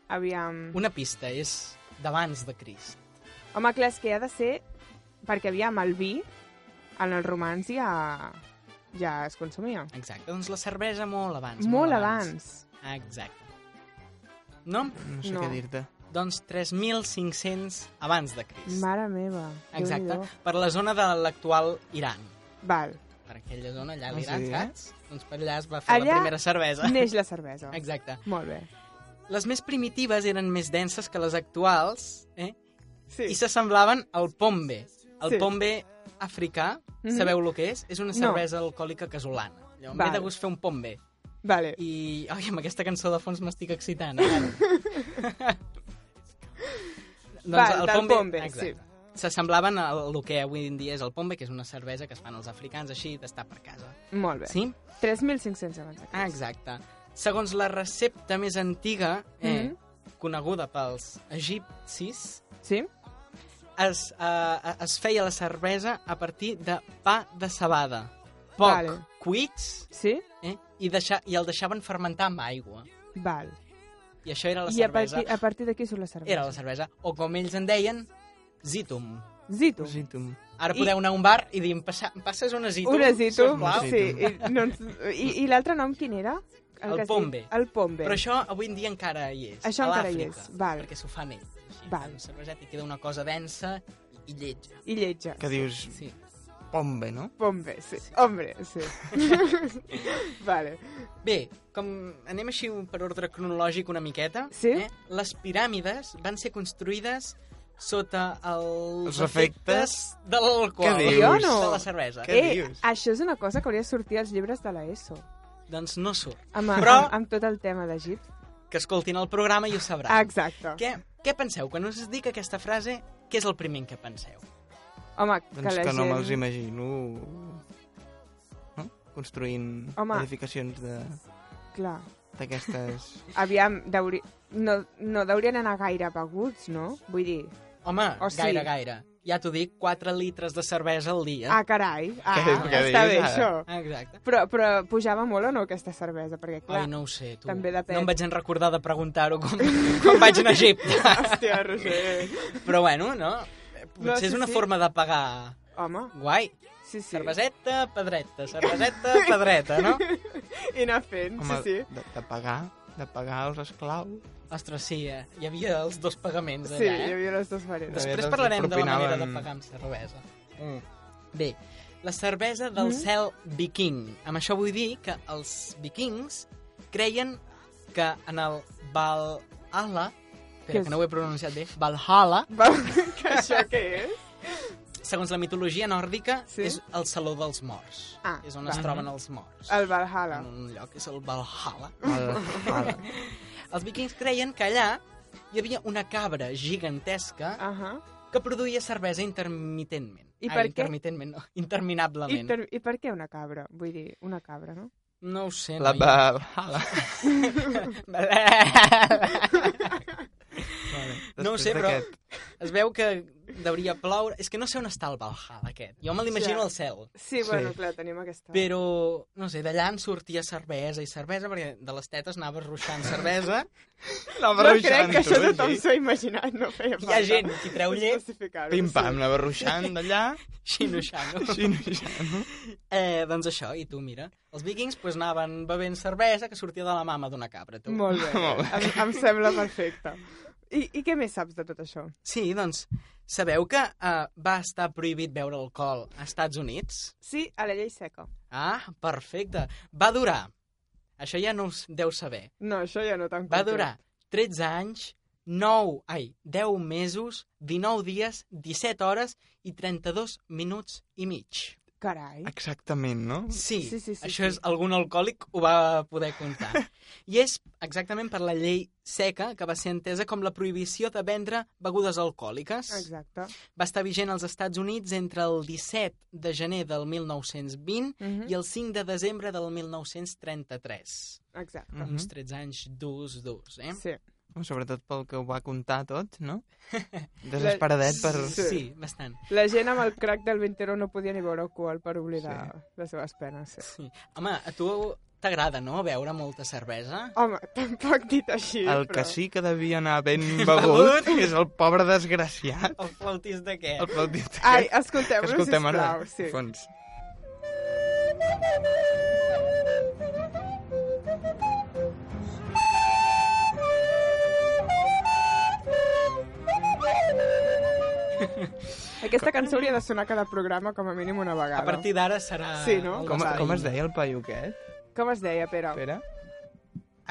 Speaker 1: Aviam...
Speaker 2: Una pista, és d'abans de Crist.
Speaker 1: Home, clar, és que ha de ser... Perquè aviam, el vi, en els romans ja, ja es consumia.
Speaker 2: Exacte, doncs la cervesa molt abans.
Speaker 1: Molt abans.
Speaker 2: Exacte. No?
Speaker 9: No sé
Speaker 1: No.
Speaker 9: què dir-te.
Speaker 2: Doncs 3.500 abans de Crist.
Speaker 1: Mare meva.
Speaker 2: Exacte,
Speaker 1: Déu-n'hi-do.
Speaker 2: per la zona de l'actual Iran.
Speaker 1: Val.
Speaker 2: Per aquella zona, allà a
Speaker 9: Ah,
Speaker 2: l'Iran,
Speaker 9: sí?
Speaker 2: saps? Doncs per allà es va fer
Speaker 1: Allà
Speaker 2: la primera cervesa.
Speaker 1: Neix la cervesa.
Speaker 2: (laughs) Exacte.
Speaker 1: Molt bé.
Speaker 2: Les més primitives eren més denses que les actuals eh?
Speaker 1: Sí.
Speaker 2: i s'assemblaven al pombe. El
Speaker 1: Sí.
Speaker 2: pombe africà,
Speaker 1: Mhm.
Speaker 2: sabeu lo que és? És una
Speaker 1: No.
Speaker 2: cervesa alcohòlica casolana. Allò, M'he
Speaker 1: Val.
Speaker 2: de gust fer un pombe.
Speaker 1: Vale.
Speaker 2: I, oi, amb aquesta cançó de fons m'estic excitant. eh?
Speaker 1: (laughs)
Speaker 2: ara. doncs
Speaker 1: Val, del pombe,
Speaker 2: exacte.
Speaker 1: sí.
Speaker 2: S'assemblaven al el que avui en dia és el pombe, que és una cervesa que es fan els africans així d'estar per casa.
Speaker 1: Molt bé.
Speaker 2: Sí?
Speaker 1: 3.500 abans de Crist.
Speaker 2: Ah, exacte. Segons la recepta més antiga, eh,
Speaker 1: Mhm.
Speaker 2: coneguda pels egipcis,
Speaker 1: Sí?
Speaker 2: es, eh, es feia la cervesa a partir de pa de cebada. Poc
Speaker 1: Vale.
Speaker 2: cuits
Speaker 1: Sí?
Speaker 2: eh, i, deixar, i el deixaven fermentar amb aigua.
Speaker 1: Val.
Speaker 2: I això era la
Speaker 1: I a
Speaker 2: cervesa.
Speaker 1: partir, a partir d'aquí surt la cervesa.
Speaker 2: Era la cervesa. O com ells en deien, zitum.
Speaker 1: Zito.
Speaker 9: Positum.
Speaker 2: Ara
Speaker 1: I-
Speaker 2: podeu anar a un bar i dir, "Em passa, em passes una zitum?
Speaker 1: Un zito.
Speaker 2: sisplau?"
Speaker 1: Sí. I, no, ens- i, i l'altre nom quin era?
Speaker 2: El
Speaker 1: que es diu-
Speaker 2: pombe.
Speaker 1: El pombe.
Speaker 2: Però això avui en dia encara hi és.
Speaker 1: Això
Speaker 2: a
Speaker 1: encara hi
Speaker 2: l'Àfrica,
Speaker 1: és, val.
Speaker 2: Perquè s'ho fan ells. Així,
Speaker 1: Val.
Speaker 2: fan un cerveset i queda una cosa densa i, i lletja.
Speaker 1: I lletja.
Speaker 9: Que dius
Speaker 2: Sí.
Speaker 9: pombe, no?
Speaker 1: Pombe, sí. Hombre,
Speaker 9: (laughs)
Speaker 1: sí. vale.
Speaker 2: Bé, com anem així per ordre cronològic una miqueta,
Speaker 1: Sí.
Speaker 2: eh? les piràmides van ser construïdes sota els,
Speaker 9: Els efectes
Speaker 2: de l'alcohol.
Speaker 9: Què dius? Jo
Speaker 1: no.
Speaker 2: De la cervesa.
Speaker 9: Què
Speaker 1: eh,
Speaker 9: dius?
Speaker 1: això és una cosa que hauria de sortir als llibres de l'ESO.
Speaker 2: Doncs no surt.
Speaker 1: Amb,
Speaker 2: Però-
Speaker 1: Però... amb, amb tot el tema d'Egipte.
Speaker 2: Que escoltin el programa i ho sabran.
Speaker 1: Ah, exacte.
Speaker 2: Què, què penseu? Quan us dic aquesta frase, què és el primer en què penseu?
Speaker 1: Home, que
Speaker 9: Doncs
Speaker 1: la
Speaker 9: que, no
Speaker 1: gent...
Speaker 9: me'ls imagino... No? Construint
Speaker 1: Home.
Speaker 9: edificacions de-
Speaker 1: Clar.
Speaker 9: d'aquestes...
Speaker 1: Aviam, deuri... no, no deurien anar gaire beguts, no? Vull dir...
Speaker 2: Home,
Speaker 1: O Oh, sí.
Speaker 2: gaire, gaire. Ja t'ho dic, 4 litres de cervesa al dia.
Speaker 1: Ah, carai! Ah,
Speaker 9: Què- què
Speaker 1: està
Speaker 9: dius,
Speaker 1: bé,
Speaker 9: ara?
Speaker 1: això.
Speaker 2: Exacte.
Speaker 1: Però, però pujava molt o no aquesta cervesa? Perquè, clar...
Speaker 2: Ai, no ho sé, tu.
Speaker 1: També depèn.
Speaker 2: No em vaig en recordar de preguntar-ho (laughs) quan, quan vaig anar
Speaker 1: (laughs)
Speaker 2: a Egipte.
Speaker 1: Hòstia, Roger.
Speaker 2: Però bueno, no? Eh, Potser
Speaker 1: No, sí,
Speaker 2: és una
Speaker 1: sí.
Speaker 2: forma de pagar
Speaker 1: Home,
Speaker 2: guai.
Speaker 1: sí, sí.
Speaker 2: Cerveseta, pedreta, cerveseta, pedreta,
Speaker 1: (laughs)
Speaker 2: no?
Speaker 1: I anar fent,
Speaker 9: Home,
Speaker 1: sí, sí.
Speaker 9: De, de pagar de pagar els esclaus.
Speaker 2: Ostres, sí, eh? hi havia els dos
Speaker 9: Doncs
Speaker 2: pagaments
Speaker 1: Sí,
Speaker 2: allà,
Speaker 1: hi
Speaker 2: eh?
Speaker 1: havia les dues varietats.
Speaker 2: Després
Speaker 9: Després
Speaker 2: parlarem de la manera de
Speaker 9: propinaven-
Speaker 2: pagar amb cervesa.
Speaker 9: Mm.
Speaker 2: Bé, la cervesa del
Speaker 1: Mhm.
Speaker 2: cel viking. Amb això vull dir que els vikings creien que en el Valhalla,
Speaker 1: Què
Speaker 2: espera,
Speaker 1: és?
Speaker 2: que no ho he pronunciat bé, Valhalla,
Speaker 1: Va, que això què és?
Speaker 2: segons la mitologia nòrdica,
Speaker 1: Sí.
Speaker 2: és el saló dels morts.
Speaker 1: Ah,
Speaker 2: és on
Speaker 1: va.
Speaker 2: es troben els morts.
Speaker 1: El Valhalla.
Speaker 2: en un lloc, és el Valhalla.
Speaker 9: Val, val.
Speaker 2: Els vikings creien que allà hi havia una cabra gigantesca
Speaker 1: Uh -huh.
Speaker 2: que produïa cervesa intermitentment.
Speaker 1: I
Speaker 2: Ai,
Speaker 1: per què?
Speaker 2: intermitentment, no, interminablement.
Speaker 1: I, per, I per què una cabra? Vull dir, una cabra, no?
Speaker 2: No ho sé,
Speaker 9: La
Speaker 2: noi.
Speaker 1: (laughs)
Speaker 9: Valhalla.
Speaker 2: Valhalla. no ho
Speaker 9: Després
Speaker 2: sé, però
Speaker 9: d'aquest.
Speaker 2: es veu que deuria ploure. És que no sé on està el Valhalla, aquest. Jo me l'imagino
Speaker 1: Ja.
Speaker 2: al cel.
Speaker 1: Sí, bueno, clar, tenim aquesta...
Speaker 2: Però, no sé, d'allà en sortia cervesa i cervesa, perquè de les tetes anaves
Speaker 1: (laughs)
Speaker 2: ruixant cervesa.
Speaker 1: no crec que això tothom s'ho ha imaginat, no feia
Speaker 2: Hi
Speaker 1: falta.
Speaker 2: ha gent que treu
Speaker 1: (laughs)
Speaker 2: llet.
Speaker 1: especificar-ho,
Speaker 9: Pim-pam, anava ruixant d'allà.
Speaker 2: Xinoxano.
Speaker 9: Xinoxano.
Speaker 2: Eh, doncs això, i tu, mira. Els vikings pues, anaven bevent cervesa que sortia de la mama d'una cabra, tu.
Speaker 1: Molt bé, Em, em sembla perfecte. I, I què més saps de tot això?
Speaker 2: Sí, doncs, sabeu que eh, va estar prohibit beure alcohol a Estats Units?
Speaker 1: Sí, a la llei seca.
Speaker 2: Ah, perfecte. Va durar. Això ja no us deu saber.
Speaker 1: No, això ja no tan
Speaker 2: Va durar 13 anys, 9, ai, 10 mesos, 19 dies, 17 hores i 32 minuts i mig.
Speaker 1: Carai.
Speaker 9: Exactament, no?
Speaker 2: Sí,
Speaker 9: Mm, Sí, sí, sí,
Speaker 2: això
Speaker 9: sí.
Speaker 2: és algun alcohòlic ho va poder comptar.
Speaker 9: (laughs)
Speaker 2: I és exactament per la llei seca que va ser entesa com la prohibició de vendre begudes alcohòliques.
Speaker 1: Exacte.
Speaker 2: Va estar vigent als Estats Units entre el 17 de gener del 1920
Speaker 1: Mhm.
Speaker 9: Mm.
Speaker 2: i el 5 de desembre del 1933.
Speaker 1: Exacte.
Speaker 2: Uns
Speaker 9: Mm-hmm.
Speaker 2: 13 anys durs, durs, eh?
Speaker 1: Sí.
Speaker 9: Sobretot pel que ho va contar tot, no? Desesperadet per...
Speaker 2: Sí, bastant.
Speaker 1: La gent amb el crac del 21 no podia ni veure alcohol per oblidar sí. les seves penes. Sí.
Speaker 2: sí. Home, a tu t'agrada, no?, beure molta cervesa?
Speaker 1: Home, tampoc dit així,
Speaker 9: El
Speaker 1: però...
Speaker 9: que sí que devia anar
Speaker 1: (laughs)
Speaker 9: ben
Speaker 2: Begut.
Speaker 9: begut és el pobre desgraciat.
Speaker 2: El flautista de què?
Speaker 9: El flautista aquest
Speaker 1: Ai, escoltem-lo,
Speaker 9: que escoltem ara,
Speaker 1: sisplau, sí.
Speaker 9: al Fons.
Speaker 1: Aquesta cançó hauria de sonar a cada programa com a mínim una vegada.
Speaker 2: A partir d'ara serà...
Speaker 1: Sí, no?
Speaker 9: Com, com es deia el paio aquest?
Speaker 1: Com es deia, Pere?
Speaker 9: Pere?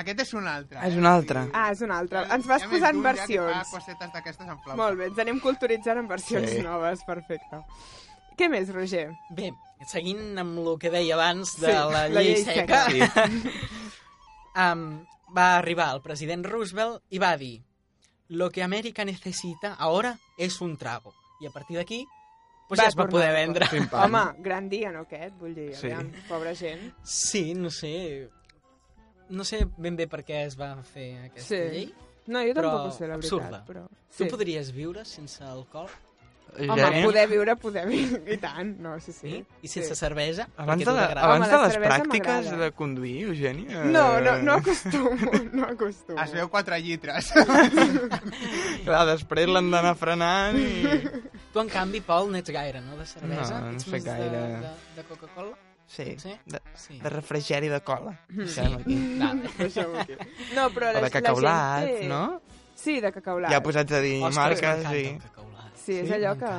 Speaker 4: Aquest és un altre. eh?
Speaker 9: Ah, és un altre.
Speaker 1: Ah, és un altre. Ens vas
Speaker 4: Hi ha més
Speaker 1: posant
Speaker 4: d'un ja que fa
Speaker 1: versions.
Speaker 4: cosetes d'aquestes en flauta.
Speaker 1: Molt bé, ens anem culturitzant en versions
Speaker 9: Sí.
Speaker 1: noves, perfecte. Què més, Roger?
Speaker 2: Bé, seguint amb el que deia abans de
Speaker 1: Sí,
Speaker 2: la
Speaker 1: la
Speaker 2: llei
Speaker 1: llei
Speaker 2: seca,
Speaker 1: seca.
Speaker 2: (laughs) um, va arribar el president Roosevelt i va dir lo que Amèrica necesita ahora es un trago. I a partir d'aquí pues ja es va
Speaker 1: tornar
Speaker 2: poder
Speaker 1: a
Speaker 2: vendre.
Speaker 1: Pam. Home, gran dia, no, aquest? Vull dir,
Speaker 2: Sí.
Speaker 1: sí. aviam, pobra gent.
Speaker 2: Sí, no sé... No sé ben bé per què es va fer aquesta
Speaker 1: Sí.
Speaker 2: llei.
Speaker 1: No, jo
Speaker 2: però
Speaker 1: tampoc ho sé, la veritat,
Speaker 2: Absurda.
Speaker 1: però-
Speaker 2: Tu
Speaker 1: sí.
Speaker 2: podries viure sense alcohol?
Speaker 1: Home, poder viure, poder viure, i tant, no, sí, sí.
Speaker 2: Sí? I sense cervesa?
Speaker 9: Abans
Speaker 2: Perquè
Speaker 9: de,
Speaker 2: tu
Speaker 9: la,
Speaker 2: t'agrada.
Speaker 9: abans
Speaker 1: Home,
Speaker 9: de
Speaker 1: la
Speaker 9: les
Speaker 1: cervesa
Speaker 9: pràctiques
Speaker 1: m'agrada.
Speaker 9: de conduir, Eugènia...
Speaker 1: No,
Speaker 9: eh,
Speaker 1: no, no acostumo, (laughs) no acostumo.
Speaker 4: Es veu 4 llitres.
Speaker 9: Clar, després l'han d'anar frenant
Speaker 1: (laughs)
Speaker 9: i...
Speaker 2: Tu, en canvi, Pol, n'ets gaire, no?, de cervesa?
Speaker 9: No, no
Speaker 2: Ets
Speaker 9: sé
Speaker 2: més de-
Speaker 9: gaire.
Speaker 2: De, de Coca-Cola?
Speaker 9: Sí,
Speaker 2: Sí?
Speaker 9: De,
Speaker 2: Sí.
Speaker 9: de refrigeri de cola.
Speaker 2: Sí.
Speaker 9: Deixem
Speaker 1: (laughs)
Speaker 9: aquí.
Speaker 2: Vale.
Speaker 1: Deixem-ho aquí. No, però
Speaker 9: O de
Speaker 1: la, la
Speaker 9: cacaulat,
Speaker 1: gent té...
Speaker 9: no?
Speaker 1: Sí, de cacaulat.
Speaker 9: Ja posats a dir
Speaker 2: Ostres,
Speaker 9: marques i...
Speaker 2: m'encanta.
Speaker 1: Sí, és
Speaker 2: Sí?
Speaker 1: allò que...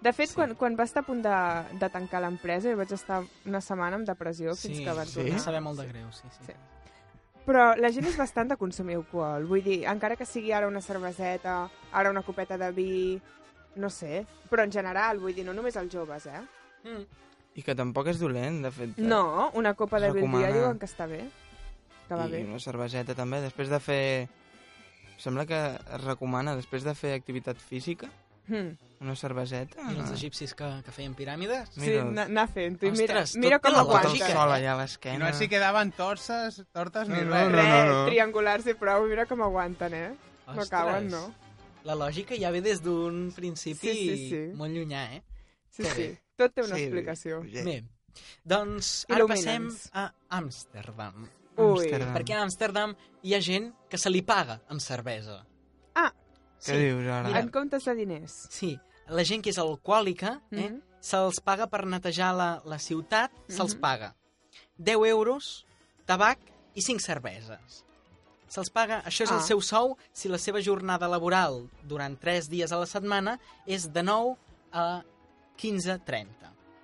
Speaker 1: De fet, sí. quan, quan va estar a punt de, de tancar l'empresa, jo vaig estar una setmana amb depressió fins que va
Speaker 2: Em
Speaker 1: tornar.
Speaker 2: saber molt de greu, sí, sí.
Speaker 1: Però la gent és bastant de consumir alcohol. Vull dir, encara que sigui ara una cerveseta, ara una copeta de vi, no sé. Però en general, vull dir, no només els joves, eh?
Speaker 9: I que tampoc és dolent, de fet.
Speaker 1: No, una copa de vi al dia
Speaker 9: Recomana.
Speaker 1: diuen que està bé. Que va
Speaker 9: I
Speaker 1: bé.
Speaker 9: una cerveseta també. Després de fer... Sembla que es recomana, després de fer activitat física,
Speaker 1: Hmm.
Speaker 9: una cerveseta...
Speaker 1: Ah.
Speaker 2: I els egipcis que, que feien piràmides?
Speaker 1: Sí,
Speaker 9: Mira,
Speaker 1: anar- anar fent-ho. I mira,
Speaker 2: Ostres,
Speaker 1: mira
Speaker 2: tot té
Speaker 1: com
Speaker 2: la
Speaker 9: Tot el
Speaker 1: aguanta.
Speaker 2: lògica.
Speaker 9: sol allà a
Speaker 4: I (laughs)
Speaker 9: l'esquena.
Speaker 4: no s'hi quedaven torces, tortes ni
Speaker 9: No, no,
Speaker 4: res.
Speaker 9: no, no, no.
Speaker 1: Triangulars i prou, mira com aguanten, eh? No
Speaker 2: Ostres.
Speaker 1: cauen, no?
Speaker 2: La lògica ja ve des d'un principi
Speaker 1: Sí, sí, sí.
Speaker 2: molt llunyà, eh?
Speaker 1: Sí,
Speaker 2: Que
Speaker 1: sí.
Speaker 2: bé.
Speaker 1: Tot té una
Speaker 9: Sí,
Speaker 1: explicació.
Speaker 2: Bé, doncs ara passem
Speaker 1: Il·lumina'ns.
Speaker 2: a Amsterdam.
Speaker 1: Ui.
Speaker 2: Perquè a Amsterdam hi ha gent que se li paga amb cervesa.
Speaker 1: Ah,
Speaker 9: Què dius ara?
Speaker 2: Mira,
Speaker 1: en comptes de diners.
Speaker 2: Sí, la gent que és alcohòlica, eh,
Speaker 1: Mhm.
Speaker 2: se'ls paga per netejar la, la ciutat, se'ls
Speaker 1: Mhm.
Speaker 2: paga 10 euros, tabac i 5 cerveses. Se'ls paga, això és el
Speaker 1: Ah.
Speaker 2: seu sou, si la seva jornada laboral durant 3 dies a la setmana és de 9 a 15.30.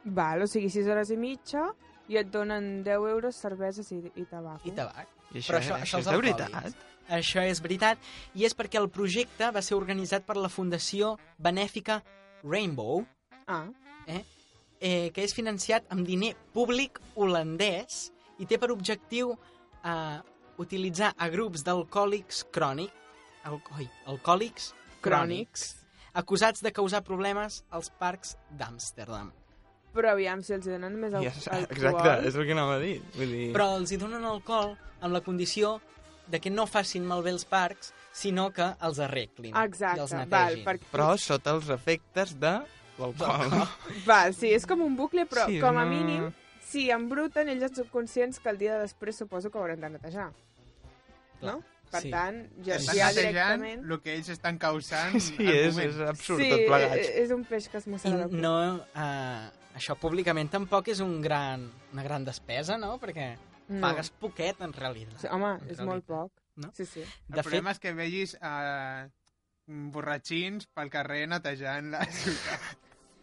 Speaker 1: Val, o sigui, 6 hores i mitja i et donen 10 euros, cerveses i, i tabac.
Speaker 2: I tabac.
Speaker 9: I això,
Speaker 2: Però
Speaker 9: això,
Speaker 2: això
Speaker 9: això
Speaker 2: als
Speaker 9: és de
Speaker 2: alcohòlics.
Speaker 9: veritat?
Speaker 2: Això és veritat, i és perquè el projecte va ser organitzat per la Fundació Benèfica Rainbow,
Speaker 1: Ah,
Speaker 2: eh, que és financiat amb diner públic holandès i té per objectiu eh, utilitzar a grups d'alcohòlics crònic, al, oi, alcohòlics crònics,
Speaker 1: crònics.
Speaker 2: acusats de causar problemes als parcs d'Amsterdam.
Speaker 1: Però aviam, si els donen més al,
Speaker 9: I és- Exacte,
Speaker 1: alcohol...
Speaker 9: és el que anava a dir. Vull dir...
Speaker 2: Però els hi donen alcohol amb la condició de que no facin malbé els parcs, sinó que els arreglin i els
Speaker 1: Exacte,
Speaker 2: netegin.
Speaker 1: val, perquè...
Speaker 9: Però sota els efectes de l'alcohol.
Speaker 1: Val, sí, és com un bucle, però
Speaker 9: Sí,
Speaker 1: sí, com a
Speaker 9: no-
Speaker 1: mínim, si embruten, ells són subconscients que el dia de després suposo que ho hauran de netejar. No? Per
Speaker 4: sí.
Speaker 1: tant, ja,
Speaker 4: Estan
Speaker 1: ja
Speaker 4: netejant
Speaker 1: directament...
Speaker 4: el que ells estan causant
Speaker 9: (laughs) Sí,
Speaker 4: al
Speaker 9: és-
Speaker 4: moment.
Speaker 9: és absurd,
Speaker 1: sí, eh, és, és un peix que es
Speaker 2: I
Speaker 1: mossega la cua.
Speaker 2: no, eh, això públicament tampoc és un gran, una gran despesa, no? Perquè
Speaker 1: No.
Speaker 2: pagues poquet, en realitat.
Speaker 1: Mm. Sí, home,
Speaker 2: En
Speaker 1: és molt
Speaker 2: realitat.
Speaker 1: poc.
Speaker 2: No?
Speaker 1: Sí, sí.
Speaker 4: El
Speaker 2: De
Speaker 4: problema és que vegis eh, borratxins pel carrer netejant la ciutat.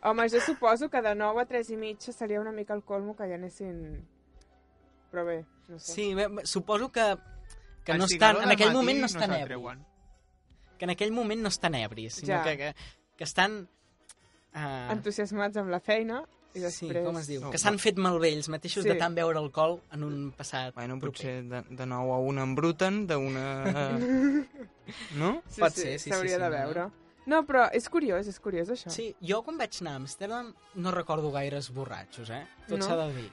Speaker 1: Home, jo suposo que de 9 a 3 i mitja seria una mica el colmo que ja anessin... Però bé, no sé.
Speaker 2: Sí, bé, suposo que, que
Speaker 4: El
Speaker 2: no
Speaker 4: cigaló
Speaker 2: estan, en
Speaker 4: del
Speaker 2: aquell
Speaker 4: matí
Speaker 2: moment no
Speaker 4: no
Speaker 2: estan
Speaker 4: se'l
Speaker 2: ebris. Que en aquell moment no estan ebris, sinó
Speaker 1: Ja.
Speaker 2: que, que, que estan... Uh,
Speaker 1: Entusiasmats amb la feina i
Speaker 2: sí,
Speaker 1: després...
Speaker 2: com es diu? que s'han fet malbé ells mateixos
Speaker 1: Sí.
Speaker 2: de tant beure alcohol en un passat
Speaker 1: eh.
Speaker 9: Bueno, potser de, de nou a una embruten, d'una...
Speaker 1: (laughs)
Speaker 9: no?
Speaker 1: Sí, Pot sí, ser, sí, s'hauria sí, de veure. No, però és curiós, és curiós això.
Speaker 2: Sí, jo quan vaig anar a Amsterdam no recordo gaires borratxos, eh? Tot
Speaker 1: No?
Speaker 2: s'ha de dir.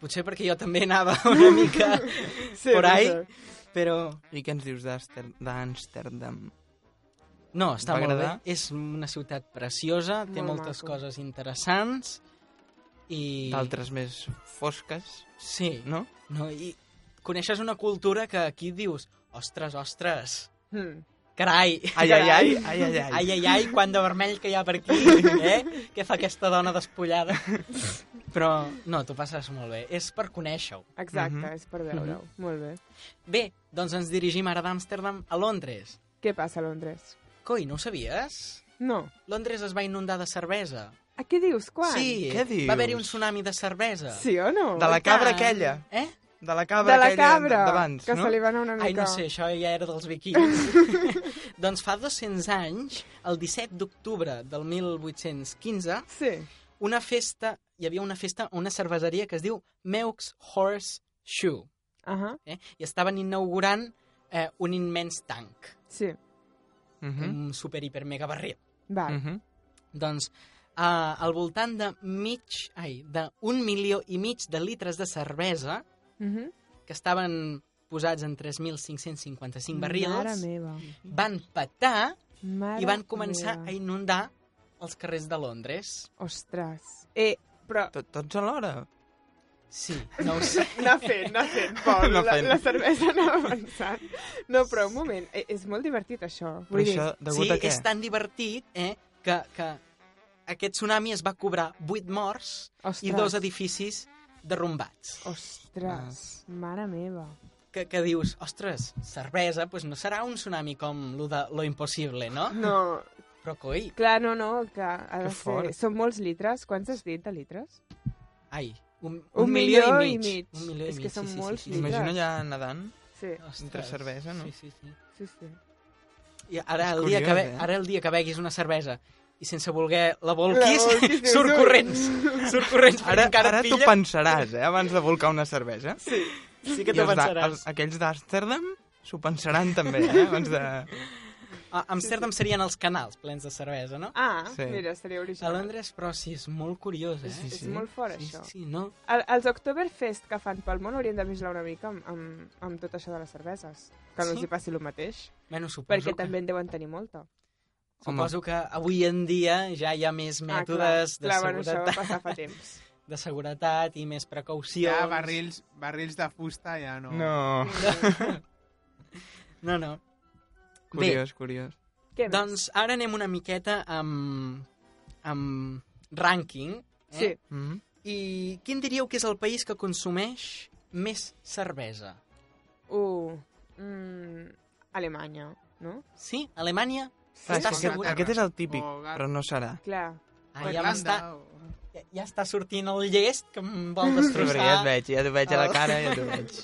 Speaker 2: Potser perquè jo també anava (laughs) una mica
Speaker 1: Sí,
Speaker 2: por ahí,
Speaker 1: no
Speaker 2: però...
Speaker 9: I què ens dius d'Amster- d'Amsterdam?
Speaker 2: No, està
Speaker 9: Va
Speaker 2: molt bé.
Speaker 9: agradar?
Speaker 2: És una ciutat preciosa, té
Speaker 9: Molt
Speaker 2: moltes
Speaker 9: maco.
Speaker 2: coses interessants i...
Speaker 9: D'altres més fosques.
Speaker 2: Sí.
Speaker 9: No?
Speaker 2: No, i coneixes una cultura que aquí dius, ostres, ostres,
Speaker 1: Mm.
Speaker 2: carai.
Speaker 9: Ai, ai, ai, ai, ai, ai.
Speaker 2: Ai, ai, ai, quant de vermell que hi ha per aquí, eh? Què fa aquesta dona despullada? Però, no, t'ho passes molt bé. És per conèixer-ho.
Speaker 1: Exacte, és per veure-ho.
Speaker 2: Mhm.
Speaker 1: Molt bé.
Speaker 2: Bé, doncs ens dirigim ara d'Amsterdam a Londres.
Speaker 1: Què passa a Londres?
Speaker 2: Coi, no ho sabies?
Speaker 1: No.
Speaker 2: Londres es va inundar de cervesa.
Speaker 1: A què dius? Quan?
Speaker 2: Sí, va haver-hi un tsunami de cervesa.
Speaker 1: Sí o no?
Speaker 9: De la cabra
Speaker 2: Tant.
Speaker 9: aquella.
Speaker 2: Eh?
Speaker 9: De la cabra
Speaker 1: De la
Speaker 9: aquella
Speaker 1: cabra,
Speaker 9: d'abans,
Speaker 1: que
Speaker 9: no?
Speaker 1: se li va anar una
Speaker 2: Ai,
Speaker 1: mica.
Speaker 2: no sé, això ja era dels
Speaker 1: (laughs)
Speaker 2: vikings. doncs fa 200 anys, el 17 d'octubre del 1815,
Speaker 1: sí.
Speaker 2: una festa, hi havia una festa, a una cerveseria que es diu Meuk's Horse Shoe.
Speaker 1: Uh -huh.
Speaker 2: eh? I estaven inaugurant eh, un immens tanc.
Speaker 1: Sí. Mm-hmm.
Speaker 9: Mhm,
Speaker 2: Un super, hiper, mega barril.
Speaker 1: Val.
Speaker 2: Doncs eh, al voltant de mig, ai, de un milió i mig de litres de cervesa
Speaker 1: Mhm.
Speaker 2: que estaven posats en 3.555 barrils
Speaker 1: Mare meva.
Speaker 2: van petar
Speaker 1: Mare
Speaker 2: i van començar
Speaker 1: meva.
Speaker 2: a inundar els carrers de Londres.
Speaker 1: Ostres. Eh, però... (laughs)
Speaker 9: Tot, tots alhora?
Speaker 2: Sí, no
Speaker 9: (laughs)
Speaker 2: ho sé.
Speaker 1: Anar fent, anar fent, Pol.
Speaker 9: Anar
Speaker 1: La,
Speaker 9: fent.
Speaker 1: la cervesa (laughs) anava avançant. No, però un moment, eh, és molt divertit això. Vull dir...
Speaker 2: sí, és tan divertit eh, que, que aquest tsunami es va cobrar 8 morts i
Speaker 1: Ostres.
Speaker 2: dos edificis derrumbats.
Speaker 1: Ostres, mare meva.
Speaker 2: Que, que dius, ostres, cervesa, doncs no serà un tsunami com lo de lo impossible, no?
Speaker 1: No.
Speaker 2: Però coi,
Speaker 1: (laughs) Clar, no, no, que ha de
Speaker 2: Que
Speaker 1: ser...
Speaker 2: fort.
Speaker 1: Són molts litres. Quants has dit de litres?
Speaker 2: ai, un,
Speaker 1: Un
Speaker 2: un milió,
Speaker 1: milió
Speaker 2: i
Speaker 1: i
Speaker 2: mig.
Speaker 1: mig.
Speaker 2: Un milió
Speaker 1: És
Speaker 2: i
Speaker 1: que
Speaker 2: mig,
Speaker 1: són
Speaker 2: sí,
Speaker 1: molts
Speaker 2: sí, sí.
Speaker 1: litres.
Speaker 9: Imagino ja nedant,
Speaker 1: Sí.
Speaker 9: entre cervesa, no?
Speaker 2: Sí, sí, sí.
Speaker 1: Sí, sí.
Speaker 2: I ara
Speaker 9: És
Speaker 2: el, dia que
Speaker 9: curiós,
Speaker 2: ve,
Speaker 9: eh?
Speaker 2: ara el dia que beguis una cervesa i sense voler la
Speaker 1: volquis,
Speaker 2: volquis,
Speaker 1: dius,
Speaker 2: (laughs) surt
Speaker 1: "Ui".
Speaker 2: corrents. Surt corrents perquè
Speaker 9: Ara,
Speaker 2: encara
Speaker 9: ara
Speaker 2: et
Speaker 9: t'ho
Speaker 2: pilla.
Speaker 9: pensaràs, eh, abans de volcar una cervesa.
Speaker 1: Sí,
Speaker 2: sí que
Speaker 9: I
Speaker 2: t'ho
Speaker 9: els de-
Speaker 2: pensaràs.
Speaker 9: Els, aquells d'Amsterdam s'ho pensaran també, eh, abans de...
Speaker 2: A Amsterdam serien els canals plens de cervesa, no?
Speaker 1: Ah,
Speaker 9: Sí. mira,
Speaker 1: seria
Speaker 2: original. A Londres, però sí, és molt curiós, eh?
Speaker 1: Sí, és molt fort,
Speaker 2: sí,
Speaker 1: això.
Speaker 2: Sí, no?
Speaker 1: El, els Oktoberfest que fan pel món haurien de vigilar una mica amb, amb, amb tot això de les cerveses. Que no
Speaker 2: Sí?
Speaker 1: els hi passi el mateix.
Speaker 2: Bueno, suposo
Speaker 1: Perquè
Speaker 2: que-
Speaker 1: també en deuen tenir molta.
Speaker 2: Suposo que avui en dia ja hi ha més
Speaker 1: Ah, clar.
Speaker 2: mètodes de
Speaker 1: Clar, bueno, això va
Speaker 2: seguretat.
Speaker 1: passar fa temps.
Speaker 2: De seguretat i més precaucions.
Speaker 4: Ja, barrils, barrils de fusta ja no.
Speaker 2: Oh.
Speaker 9: No.
Speaker 2: No, no.
Speaker 9: Curiós, curiós.
Speaker 2: (laughs)
Speaker 1: Què més?
Speaker 2: Doncs ara anem una miqueta amb, amb rànquing. Eh?
Speaker 1: Sí.
Speaker 9: Mhm.
Speaker 2: I quin diríeu que és el país que consumeix més cervesa?
Speaker 1: Uh, mm, Alemanya, no?
Speaker 2: Sí? Alemanya?
Speaker 9: Clar, és que
Speaker 2: Estàs
Speaker 9: aquest,
Speaker 2: segur?
Speaker 9: aquest és el típic, però no serà.
Speaker 1: Clar.
Speaker 2: Ah,
Speaker 1: O
Speaker 2: ja
Speaker 1: Irlanda,
Speaker 2: m'està... Ja, ja està sortint el llest que em
Speaker 9: (laughs)
Speaker 2: vol destrossar.
Speaker 9: Sí, perquè ja et veig, ja t'ho veig a la
Speaker 2: el-
Speaker 9: cara, ja t'ho veig.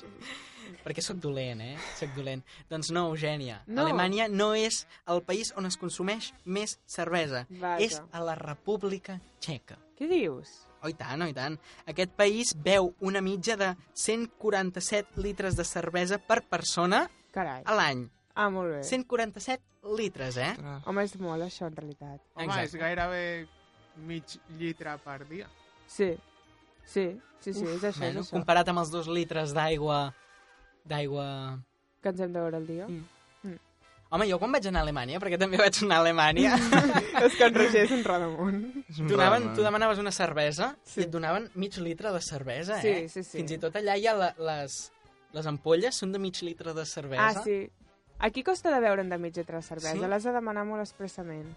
Speaker 2: perquè sóc dolent, eh? Sóc dolent. Doncs no, Eugènia.
Speaker 1: No.
Speaker 2: Alemanya no és el país on es consumeix més cervesa.
Speaker 1: Vaja.
Speaker 2: És a la República Txeca.
Speaker 1: Què dius?
Speaker 2: Oh, i tant, oh, i tant. Aquest país veu una mitja de 147 litres de cervesa per persona
Speaker 1: Carai.
Speaker 2: a l'any.
Speaker 1: Ah, molt bé.
Speaker 2: 147 litres, eh?
Speaker 1: Home, és molt això, en realitat.
Speaker 4: Home, és gairebé mig llitre per dia.
Speaker 1: Sí, sí, sí, sí és això,
Speaker 2: bueno,
Speaker 1: és això.
Speaker 2: comparat amb els dos litres d'aigua... d'aigua...
Speaker 1: Que ens hem de veure al dia. Mm. Mm.
Speaker 2: Home, jo quan vaig anar a Alemanya, perquè també vaig anar a Alemanya...
Speaker 1: (laughs) és que en Roger és un redamunt.
Speaker 2: Tu, (laughs) donaven, tu demanaves una cervesa sí. i et donaven mig litre de cervesa,
Speaker 1: Sí,
Speaker 2: eh?
Speaker 1: sí, sí.
Speaker 2: Fins i tot allà hi ha la, les, les ampolles són de mig litre de cervesa.
Speaker 1: Ah, sí. Aquí costa de veure'n de mitja litre de cervesa,
Speaker 2: Sí?
Speaker 1: sí? l'has de demanar molt expressament.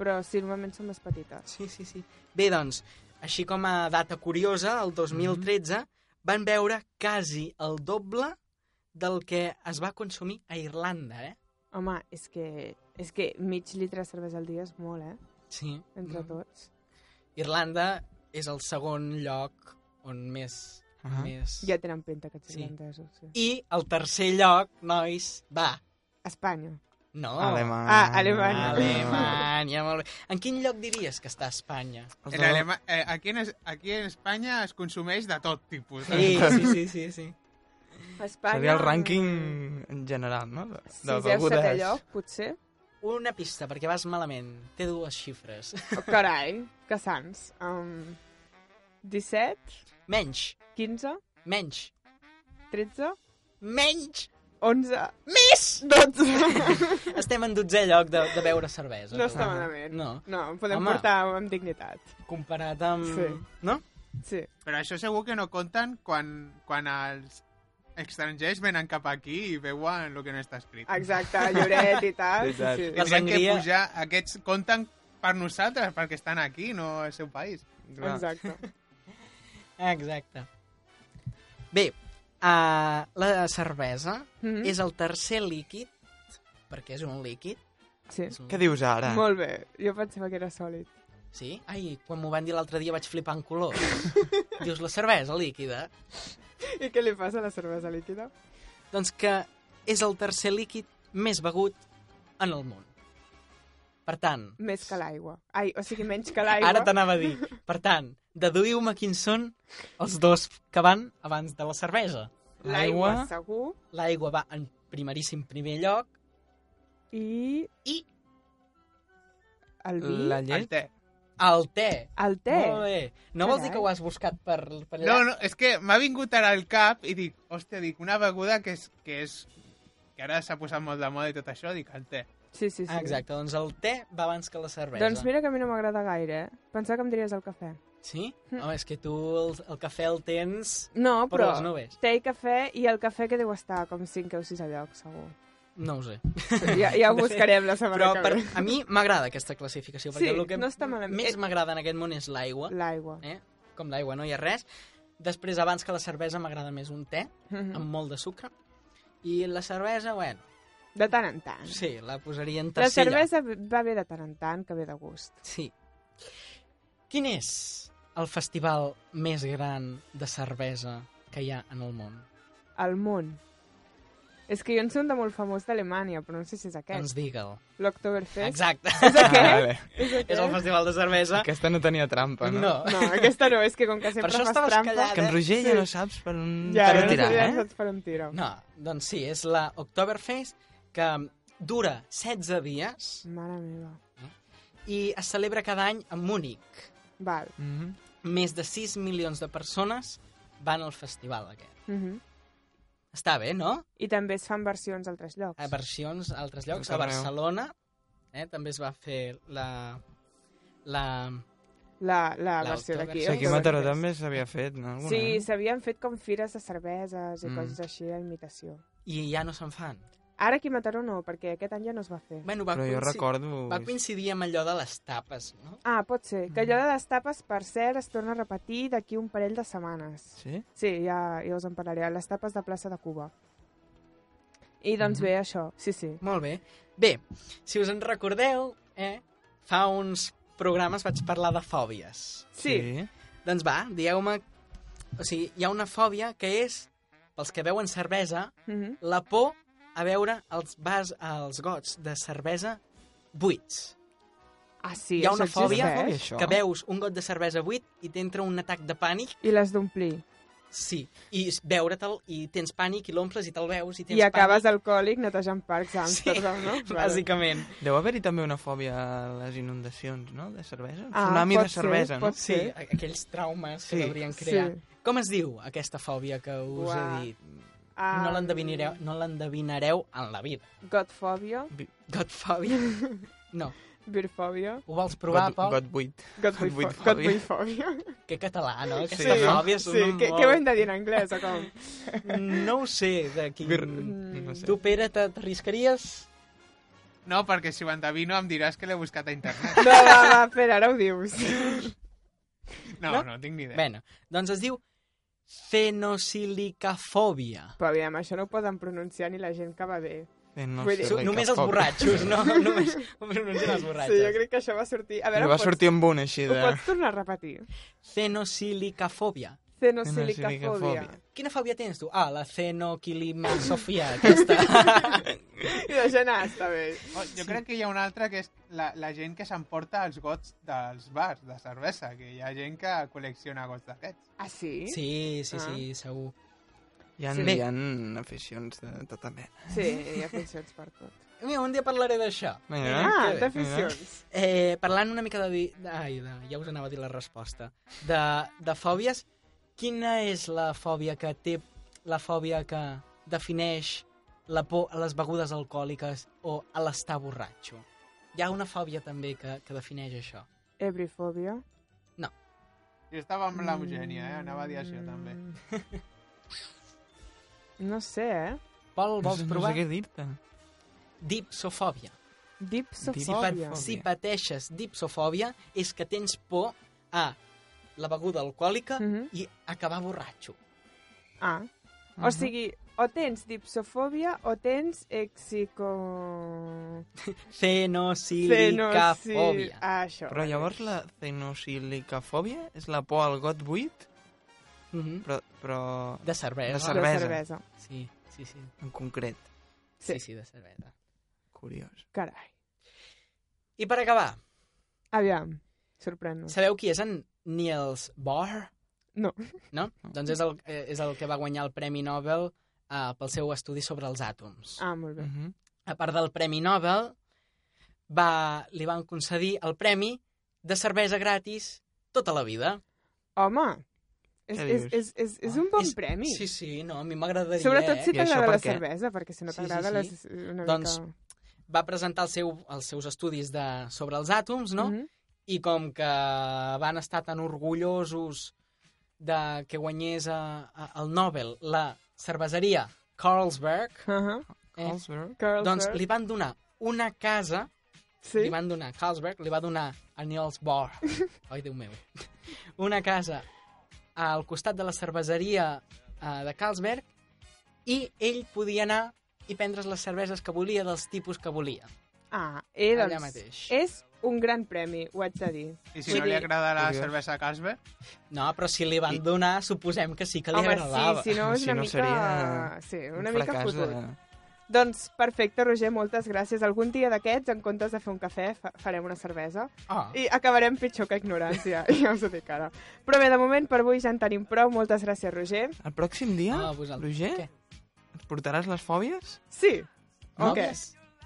Speaker 1: Però sí, normalment són més petites.
Speaker 2: Sí, sí, sí. Bé, doncs, així com a data curiosa, el 2013
Speaker 1: Mm-hmm.
Speaker 2: van veure quasi el doble del que es va consumir a Irlanda, eh?
Speaker 1: Home, és que, és que mig litre de cervesa al dia és molt, eh?
Speaker 2: Sí.
Speaker 1: Entre tots.
Speaker 2: Irlanda és el segon lloc on més... Uh
Speaker 1: Ah.
Speaker 2: -huh. més...
Speaker 1: Ja tenen pinta aquests
Speaker 2: Sí.
Speaker 1: sí. irlandesos. Sí.
Speaker 2: I el tercer lloc, nois, va...
Speaker 1: Espanya.
Speaker 2: No.
Speaker 9: Alemanya.
Speaker 1: Ah, Alemanya.
Speaker 2: Alemanya, molt bé. En quin lloc diries que està (laughs) Espanya?
Speaker 4: En Alema... eh, aquí, en, es- aquí en Espanya es consumeix de tot tipus. eh?
Speaker 2: Sí, sí, sí, sí, sí.
Speaker 1: Espanya...
Speaker 9: Seria el rànquing en general, no? De, de begudes.
Speaker 1: potser.
Speaker 2: Una pista, perquè vas malament. Té dues xifres.
Speaker 1: Oh, carai, que sants. Um, 17,
Speaker 2: Menys,
Speaker 1: 15,
Speaker 2: menys.
Speaker 1: 13,
Speaker 2: Menys!
Speaker 1: 11,
Speaker 2: Més!
Speaker 9: (laughs)
Speaker 1: 12.
Speaker 2: Estem en 12 lloc de, de beure cervesa.
Speaker 1: No està
Speaker 2: tu.
Speaker 1: malament.
Speaker 2: No.
Speaker 1: No, podem
Speaker 2: Home.
Speaker 1: Home. portar amb dignitat.
Speaker 2: Comparat amb...
Speaker 1: Sí.
Speaker 2: No?
Speaker 1: Sí.
Speaker 4: Però això segur que no compten quan, quan els estrangers venen cap aquí i veuen el que no està escrit.
Speaker 1: Exacte, Lloret i tal.
Speaker 9: Veritat.
Speaker 1: Sí,
Speaker 2: La
Speaker 1: sí.
Speaker 4: Tindrem que
Speaker 2: sangria-
Speaker 4: pujar... Aquests compten per nosaltres, perquè estan aquí, no al seu país.
Speaker 9: Clar.
Speaker 1: Exacte.
Speaker 2: Exacte. Bé, uh, la cervesa mm
Speaker 1: Mhm.
Speaker 2: -hmm. és el tercer líquid, perquè és un líquid.
Speaker 1: Sí.
Speaker 2: És un...
Speaker 9: Què dius ara?
Speaker 1: Molt bé, jo pensava que era sòlid.
Speaker 2: Sí? Ai, quan m'ho van dir l'altre dia vaig flipar en
Speaker 1: (laughs)
Speaker 2: colors. dius, la cervesa líquida?
Speaker 1: I què li passa a la cervesa líquida?
Speaker 2: Doncs que és el tercer líquid més begut en el món. Per tant,
Speaker 1: Més que l'aigua. Ai, o sigui, menys que l'aigua.
Speaker 2: Ara t'anava a dir. Per tant, deduïu-me quins són els dos que van abans de la cervesa.
Speaker 1: L'aigua,
Speaker 9: L'aigua-
Speaker 1: segur.
Speaker 2: L'aigua va en primeríssim primer lloc
Speaker 1: I
Speaker 2: i
Speaker 1: el vi.
Speaker 9: La
Speaker 4: El
Speaker 9: llet?
Speaker 4: té.
Speaker 2: el te.
Speaker 1: El te.
Speaker 2: Molt bé. No vols
Speaker 1: Carai.
Speaker 2: dir que ho has buscat per, per allà?
Speaker 4: No, no, és que m'ha vingut ara al cap i dic, hòstia, dic, una beguda que és... Que, és, que ara s'ha posat molt de moda i tot això, dic, el té.
Speaker 1: Sí, sí, sí.
Speaker 2: Ah, exacte, doncs el te va abans que la cervesa.
Speaker 1: Doncs mira que a mi no m'agrada gaire, eh? Pensava que em diries el cafè.
Speaker 2: Sí? Home, és que tu el, el cafè el tens...
Speaker 1: No, Hm.
Speaker 2: Per
Speaker 1: però...
Speaker 2: les nubes.
Speaker 1: Té i cafè i el cafè que deu estar com 5 o 6 a lloc, segur.
Speaker 2: No ho sé.
Speaker 1: Ja, ja ho
Speaker 2: De fet,
Speaker 1: buscarem la setmana
Speaker 2: Però
Speaker 1: que
Speaker 2: per,
Speaker 1: ve.
Speaker 2: a mi m'agrada aquesta classificació, perquè
Speaker 1: Sí,
Speaker 2: el que
Speaker 1: no està malament. Eh,
Speaker 2: més m'agrada en aquest món és l'aigua.
Speaker 1: L'aigua.
Speaker 2: eh? com l'aigua, no hi ha res. Després, abans que la cervesa, m'agrada més un te,
Speaker 1: Mm-hmm. Hm.
Speaker 2: amb molt de sucre. I la cervesa, bueno,
Speaker 1: De tant en tant.
Speaker 2: sí, la posaria en
Speaker 1: La
Speaker 2: tercer
Speaker 1: cervesa va bé de tant en tant, que ve de gust.
Speaker 2: lloc. Sí. Quin és el festival més gran de cervesa que hi ha en el món?
Speaker 1: Al món. És que jo en sé un de molt famós d'Alemanya, però no sé si és
Speaker 2: Què?
Speaker 1: aquest.
Speaker 2: Doncs digue'l.
Speaker 1: L'Oktoberfest.
Speaker 2: Exacte.
Speaker 1: És aquest?
Speaker 9: Ah, vale.
Speaker 1: És
Speaker 2: (laughs) és el
Speaker 1: aquest?
Speaker 2: festival de cervesa.
Speaker 9: Aquesta no tenia trampa, no?
Speaker 2: No.
Speaker 1: No, aquesta no, és que com que
Speaker 2: Per
Speaker 1: sempre
Speaker 2: això
Speaker 1: fas
Speaker 2: estaves
Speaker 1: trampa...
Speaker 2: callada.
Speaker 9: Que en Roger ja
Speaker 1: Sí.
Speaker 9: no saps per on,
Speaker 1: Ja,
Speaker 9: per
Speaker 1: no
Speaker 9: on
Speaker 1: sé
Speaker 9: tirar,
Speaker 1: si
Speaker 9: Mm, eh?
Speaker 1: saps per on tiro.
Speaker 2: No, doncs sí, és la Oktoberfest, que dura 16 dies
Speaker 1: Mare meva.
Speaker 2: i es celebra cada any a Múnich.
Speaker 1: Val.
Speaker 9: Mhm.
Speaker 2: Més de 6 milions de persones van al festival aquest.
Speaker 1: Mm
Speaker 2: Està bé, no?
Speaker 1: I també es fan versions a altres llocs.
Speaker 2: A versions a altres llocs.
Speaker 9: Tot
Speaker 2: A
Speaker 9: arreu.
Speaker 2: Barcelona eh, també es va fer la... la...
Speaker 1: La, la
Speaker 2: L'Oktoberfest.
Speaker 1: versió d'aquí.
Speaker 2: Sí,
Speaker 9: Sí, aquí a
Speaker 1: Oktoberfest.
Speaker 9: Mataró també s'havia fet, no? Alguna? eh?
Speaker 1: Sí, s'havien fet com fires de cerveses i
Speaker 9: Mm.
Speaker 1: mm. coses així a imitació.
Speaker 2: I ja no se'n fan.
Speaker 1: Ara aquí a Mataró no, perquè aquest any ja no es va fer.
Speaker 2: Bueno, va,
Speaker 9: Però jo
Speaker 2: coinci-
Speaker 9: recordo...
Speaker 2: va coincidir amb allò de les tapes, no?
Speaker 1: Ah, pot ser.
Speaker 9: Mm.
Speaker 1: Que allò de les tapes, per cert, es torna a repetir d'aquí un parell de setmanes.
Speaker 9: Sí?
Speaker 1: Sí, ja, ja us en parlaré. Les tapes de plaça de Cuba. I doncs bé, això. Sí, sí.
Speaker 2: Molt bé. Bé, si us en recordeu, eh, fa uns programes vaig parlar de fòbies.
Speaker 1: Sí.
Speaker 2: Doncs va, dieu-me... O sigui, hi ha una fòbia que és, pels que veuen cervesa,
Speaker 1: Mhm.
Speaker 2: la por a veure els, bars, els gots de cervesa buits.
Speaker 1: Ah, sí.
Speaker 2: Hi ha una
Speaker 1: això
Speaker 2: fòbia
Speaker 1: existeix.
Speaker 9: Això.
Speaker 2: Que veus un got de cervesa buit i t'entra un atac de pànic.
Speaker 1: I les d'omplir.
Speaker 2: Sí, i s- veure-te'l i tens pànic i l'omples i te'l veus i tens
Speaker 1: I acabes
Speaker 2: (laughs) pànic.
Speaker 1: alcohòlic netejant parcs a Amsterdam,
Speaker 2: (laughs)
Speaker 1: no? Vale.
Speaker 2: bàsicament.
Speaker 9: Deu haver-hi també una fòbia a les inundacions, no?, de cervesa. Un
Speaker 1: Ah,
Speaker 9: tsunami
Speaker 1: pot
Speaker 9: de
Speaker 1: ser,
Speaker 9: cervesa, no?
Speaker 1: pot ser. Sí,
Speaker 2: a- aquells traumes que
Speaker 9: Sí.
Speaker 2: deurien crear.
Speaker 9: Sí.
Speaker 2: Sí. Com es diu aquesta fòbia que us
Speaker 1: Uah.
Speaker 2: he dit? Um... No
Speaker 1: Um,
Speaker 2: l'endevinareu no l'endevinareu en la vida.
Speaker 1: Godfòbia.
Speaker 2: Godfòbia? No.
Speaker 1: Beerfòbia.
Speaker 2: Ho vols provar,
Speaker 9: God-
Speaker 2: Pol?
Speaker 9: Godbuit.
Speaker 1: Godbuit
Speaker 9: Godbuitfòbia.
Speaker 1: Godbuitfòbia.
Speaker 2: Que català, no?
Speaker 1: Sí,
Speaker 2: Aquesta fòbia és un
Speaker 1: sí.
Speaker 2: nom
Speaker 1: Què,
Speaker 2: molt- Mm,
Speaker 1: què ho hem de dir en anglès o
Speaker 2: (laughs)
Speaker 1: com?
Speaker 2: No ho sé, de quin...
Speaker 9: Bir...
Speaker 2: No sé. Tu, Pere, te- t'arriscaries?
Speaker 4: No, perquè si ho endevino em diràs que l'he buscat a
Speaker 1: (laughs)
Speaker 4: internet.
Speaker 1: No, va, va, espera, ara ho dius.
Speaker 4: No, no, tinc ni idea.
Speaker 2: Bueno, doncs es diu fenosilicafòbia.
Speaker 1: Però aviam, això no ho poden pronunciar ni la gent que va bé.
Speaker 9: Eh, No
Speaker 1: Vull dir-
Speaker 9: sé,
Speaker 2: Només els
Speaker 9: fòbia.
Speaker 2: borratxos,
Speaker 1: (laughs)
Speaker 2: no? Només ho pronuncien els borratxos.
Speaker 1: Sí, jo crec que això va sortir... A veure,
Speaker 9: Li va
Speaker 1: pots-
Speaker 9: sortir amb un, així,
Speaker 1: Ho
Speaker 9: de...
Speaker 1: pots tornar a repetir?
Speaker 2: Fenosilicafòbia.
Speaker 1: Xenosilicafòbia.
Speaker 2: Quina fòbia tens, tu? Ah, la fenoquilimasofia,
Speaker 1: (laughs)
Speaker 2: aquesta.
Speaker 1: I la gent ah, està bé.
Speaker 4: Oh, jo crec que hi ha una altra que és la, la gent que s'emporta els gots dels bars de cervesa, que hi ha gent que col·lecciona gots d'aquests.
Speaker 1: Ah, sí?
Speaker 2: Sí, sí, sí,
Speaker 1: Ah.
Speaker 2: segur.
Speaker 9: Hi ha,
Speaker 2: Sí.
Speaker 9: hi ha aficions de tota mena.
Speaker 1: Sí, hi ha funcions per tot.
Speaker 2: Mira, un dia parlaré d'això.
Speaker 9: Mira,
Speaker 1: Ah,
Speaker 2: que bé.
Speaker 1: d'aficions.
Speaker 2: Eh, parlant una mica de... di- de- Ai, de, ja us anava a dir la resposta. De, de fòbies, quina és la fòbia que té... La fòbia que defineix la por a les begudes alcohòliques o a l'estar borratxo? Hi ha una fòbia també que, que defineix això.
Speaker 1: Ebrifòbia.
Speaker 4: Jo estava amb l'Eugènia, eh? Anava a dir això, també.
Speaker 1: Mm. (laughs) No sé, eh?
Speaker 2: Pol,
Speaker 9: No
Speaker 2: vols
Speaker 9: sé, no
Speaker 2: provar?
Speaker 9: sé què dir-te.
Speaker 2: Dipsofòbia. Si, pa
Speaker 1: Dipsofòbia.
Speaker 2: si pateixes dipsofòbia és que tens por a la beguda alcohòlica
Speaker 9: Mm.
Speaker 1: Mhm.
Speaker 2: i acabar borratxo.
Speaker 1: Ah. O
Speaker 2: Mhm.
Speaker 1: sigui, o tens dipsofòbia o tens exico... Fenosi-
Speaker 2: Fenoxilicafòbia.
Speaker 1: Ah, això.
Speaker 9: Però llavors la cenoxilicafòbia és la por al got buit,
Speaker 2: Mhm.
Speaker 9: però... però...
Speaker 2: De cervesa.
Speaker 9: De cervesa.
Speaker 1: De cervesa.
Speaker 2: Sí, sí, sí.
Speaker 9: En concret.
Speaker 1: Sí.
Speaker 2: Sí, sí, de cervesa.
Speaker 9: Curiós.
Speaker 1: Carai.
Speaker 2: I per acabar,
Speaker 1: Aviam, sorprèn-nos.
Speaker 2: sabeu qui és en Niels Bohr?
Speaker 1: No.
Speaker 2: No? Doncs és el, eh, és el que va guanyar el Premi Nobel eh, pel seu estudi sobre els àtoms.
Speaker 1: Ah, molt bé.
Speaker 9: Mhm.
Speaker 2: a part del Premi Nobel, va, li van concedir el premi de cervesa gratis tota la vida.
Speaker 1: Home, és,
Speaker 9: Què
Speaker 1: és,
Speaker 9: dius?
Speaker 1: és, és, és un bon premi.
Speaker 2: Sí, sí, eh? no, a mi m'agradaria.
Speaker 1: Sobretot si
Speaker 9: I això
Speaker 1: t'agrada
Speaker 9: per
Speaker 1: la
Speaker 9: què?
Speaker 1: cervesa, perquè si no
Speaker 2: Sí,
Speaker 1: t'agrada
Speaker 2: sí,
Speaker 1: les...
Speaker 2: sí.
Speaker 1: Una
Speaker 2: Doncs,
Speaker 1: mica...
Speaker 2: Va presentar el seu, els seus estudis de, sobre els àtoms, no? Mm
Speaker 1: Mhm.
Speaker 2: I com que van estar tan orgullosos de que guanyés a, a, el Nobel la cerveseria Carlsberg,
Speaker 1: Uh
Speaker 2: eh,
Speaker 9: Carlsberg.
Speaker 1: -huh.
Speaker 2: doncs li van donar una casa
Speaker 1: sí?
Speaker 2: li van donar, Carlsberg li va donar a Niels Bohr, ai Déu meu, una casa al costat de la cerveseria eh, de Carlsberg i ell podia anar i prendre's les cerveses que volia dels tipus que volia.
Speaker 1: Ah, eh,
Speaker 2: Allà
Speaker 1: doncs,
Speaker 2: mateix.
Speaker 1: és un gran premi, ho haig de dir.
Speaker 4: I si
Speaker 2: Sí.
Speaker 4: no li agrada la
Speaker 9: Curiós.
Speaker 4: cervesa Carlsberg?
Speaker 2: No, però si li van
Speaker 9: I-
Speaker 2: donar, suposem que sí que li
Speaker 1: Home,
Speaker 2: agradava.
Speaker 1: sí, si no
Speaker 2: (laughs)
Speaker 1: és
Speaker 9: Si
Speaker 1: una
Speaker 9: no,
Speaker 1: mica...
Speaker 9: seria
Speaker 1: Sí, una
Speaker 9: Un
Speaker 1: mica
Speaker 9: fracàs
Speaker 1: fotut.
Speaker 2: eh.
Speaker 9: de-
Speaker 1: Doncs perfecte, Roger, moltes gràcies. Algun dia d'aquests, en comptes de fer un cafè, fa farem una cervesa.
Speaker 2: Ah,
Speaker 1: I acabarem pitjor que ignorància, (laughs) ja us ho dic ara. Però bé, de moment, per avui ja en tenim prou. Moltes gràcies, Roger.
Speaker 9: El pròxim dia,
Speaker 2: Ah,
Speaker 9: Roger,
Speaker 2: vosaltres. Què?
Speaker 9: ens portaràs les fòbies?
Speaker 1: Sí.
Speaker 2: no?
Speaker 1: O què?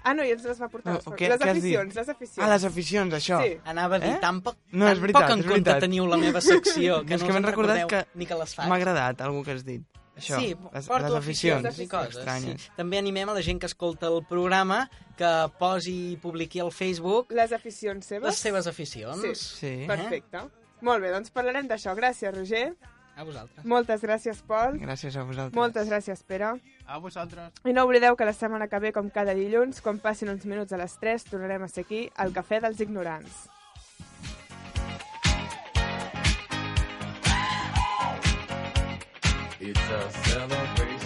Speaker 1: Ah, no, i ens les va portar.
Speaker 9: No,
Speaker 1: les,
Speaker 9: o
Speaker 1: fa-
Speaker 9: què-
Speaker 1: les
Speaker 9: què has dit?
Speaker 1: aficions, les aficions.
Speaker 9: Ah, les aficions, això.
Speaker 1: Sí.
Speaker 2: Anava a dir,
Speaker 9: Eh?
Speaker 2: tampoc,
Speaker 9: No, és
Speaker 2: tampoc
Speaker 9: veritat,
Speaker 2: en
Speaker 9: és
Speaker 2: compte
Speaker 9: veritat.
Speaker 2: teniu la meva
Speaker 9: (laughs)
Speaker 2: secció, que
Speaker 9: És
Speaker 2: no
Speaker 9: que
Speaker 2: us
Speaker 9: m'he
Speaker 2: en
Speaker 9: recordat
Speaker 2: recordeu
Speaker 9: que
Speaker 2: ni que les faig.
Speaker 9: M'ha agradat algú que has dit. Això,
Speaker 2: sí,
Speaker 9: les,
Speaker 2: porto
Speaker 9: les aficions,
Speaker 1: aficions
Speaker 2: i coses.
Speaker 9: estranyes.
Speaker 2: Sí. També animem a la gent que escolta el programa que posi i publiqui al Facebook
Speaker 1: Les aficions seves?
Speaker 2: les seves aficions.
Speaker 1: Sí.
Speaker 9: Sí.
Speaker 1: Perfecte. Molt bé, doncs parlarem d'això. Gràcies, Roger.
Speaker 2: A vosaltres.
Speaker 1: Moltes gràcies, Pol.
Speaker 9: Gràcies a vosaltres.
Speaker 1: Moltes gràcies, Pere.
Speaker 4: A vosaltres.
Speaker 1: I no oblideu que la setmana que ve, com cada dilluns, quan passin uns minuts a les 3, tornarem a ser aquí al Cafè dels Ignorants.
Speaker 5: It's a celebration.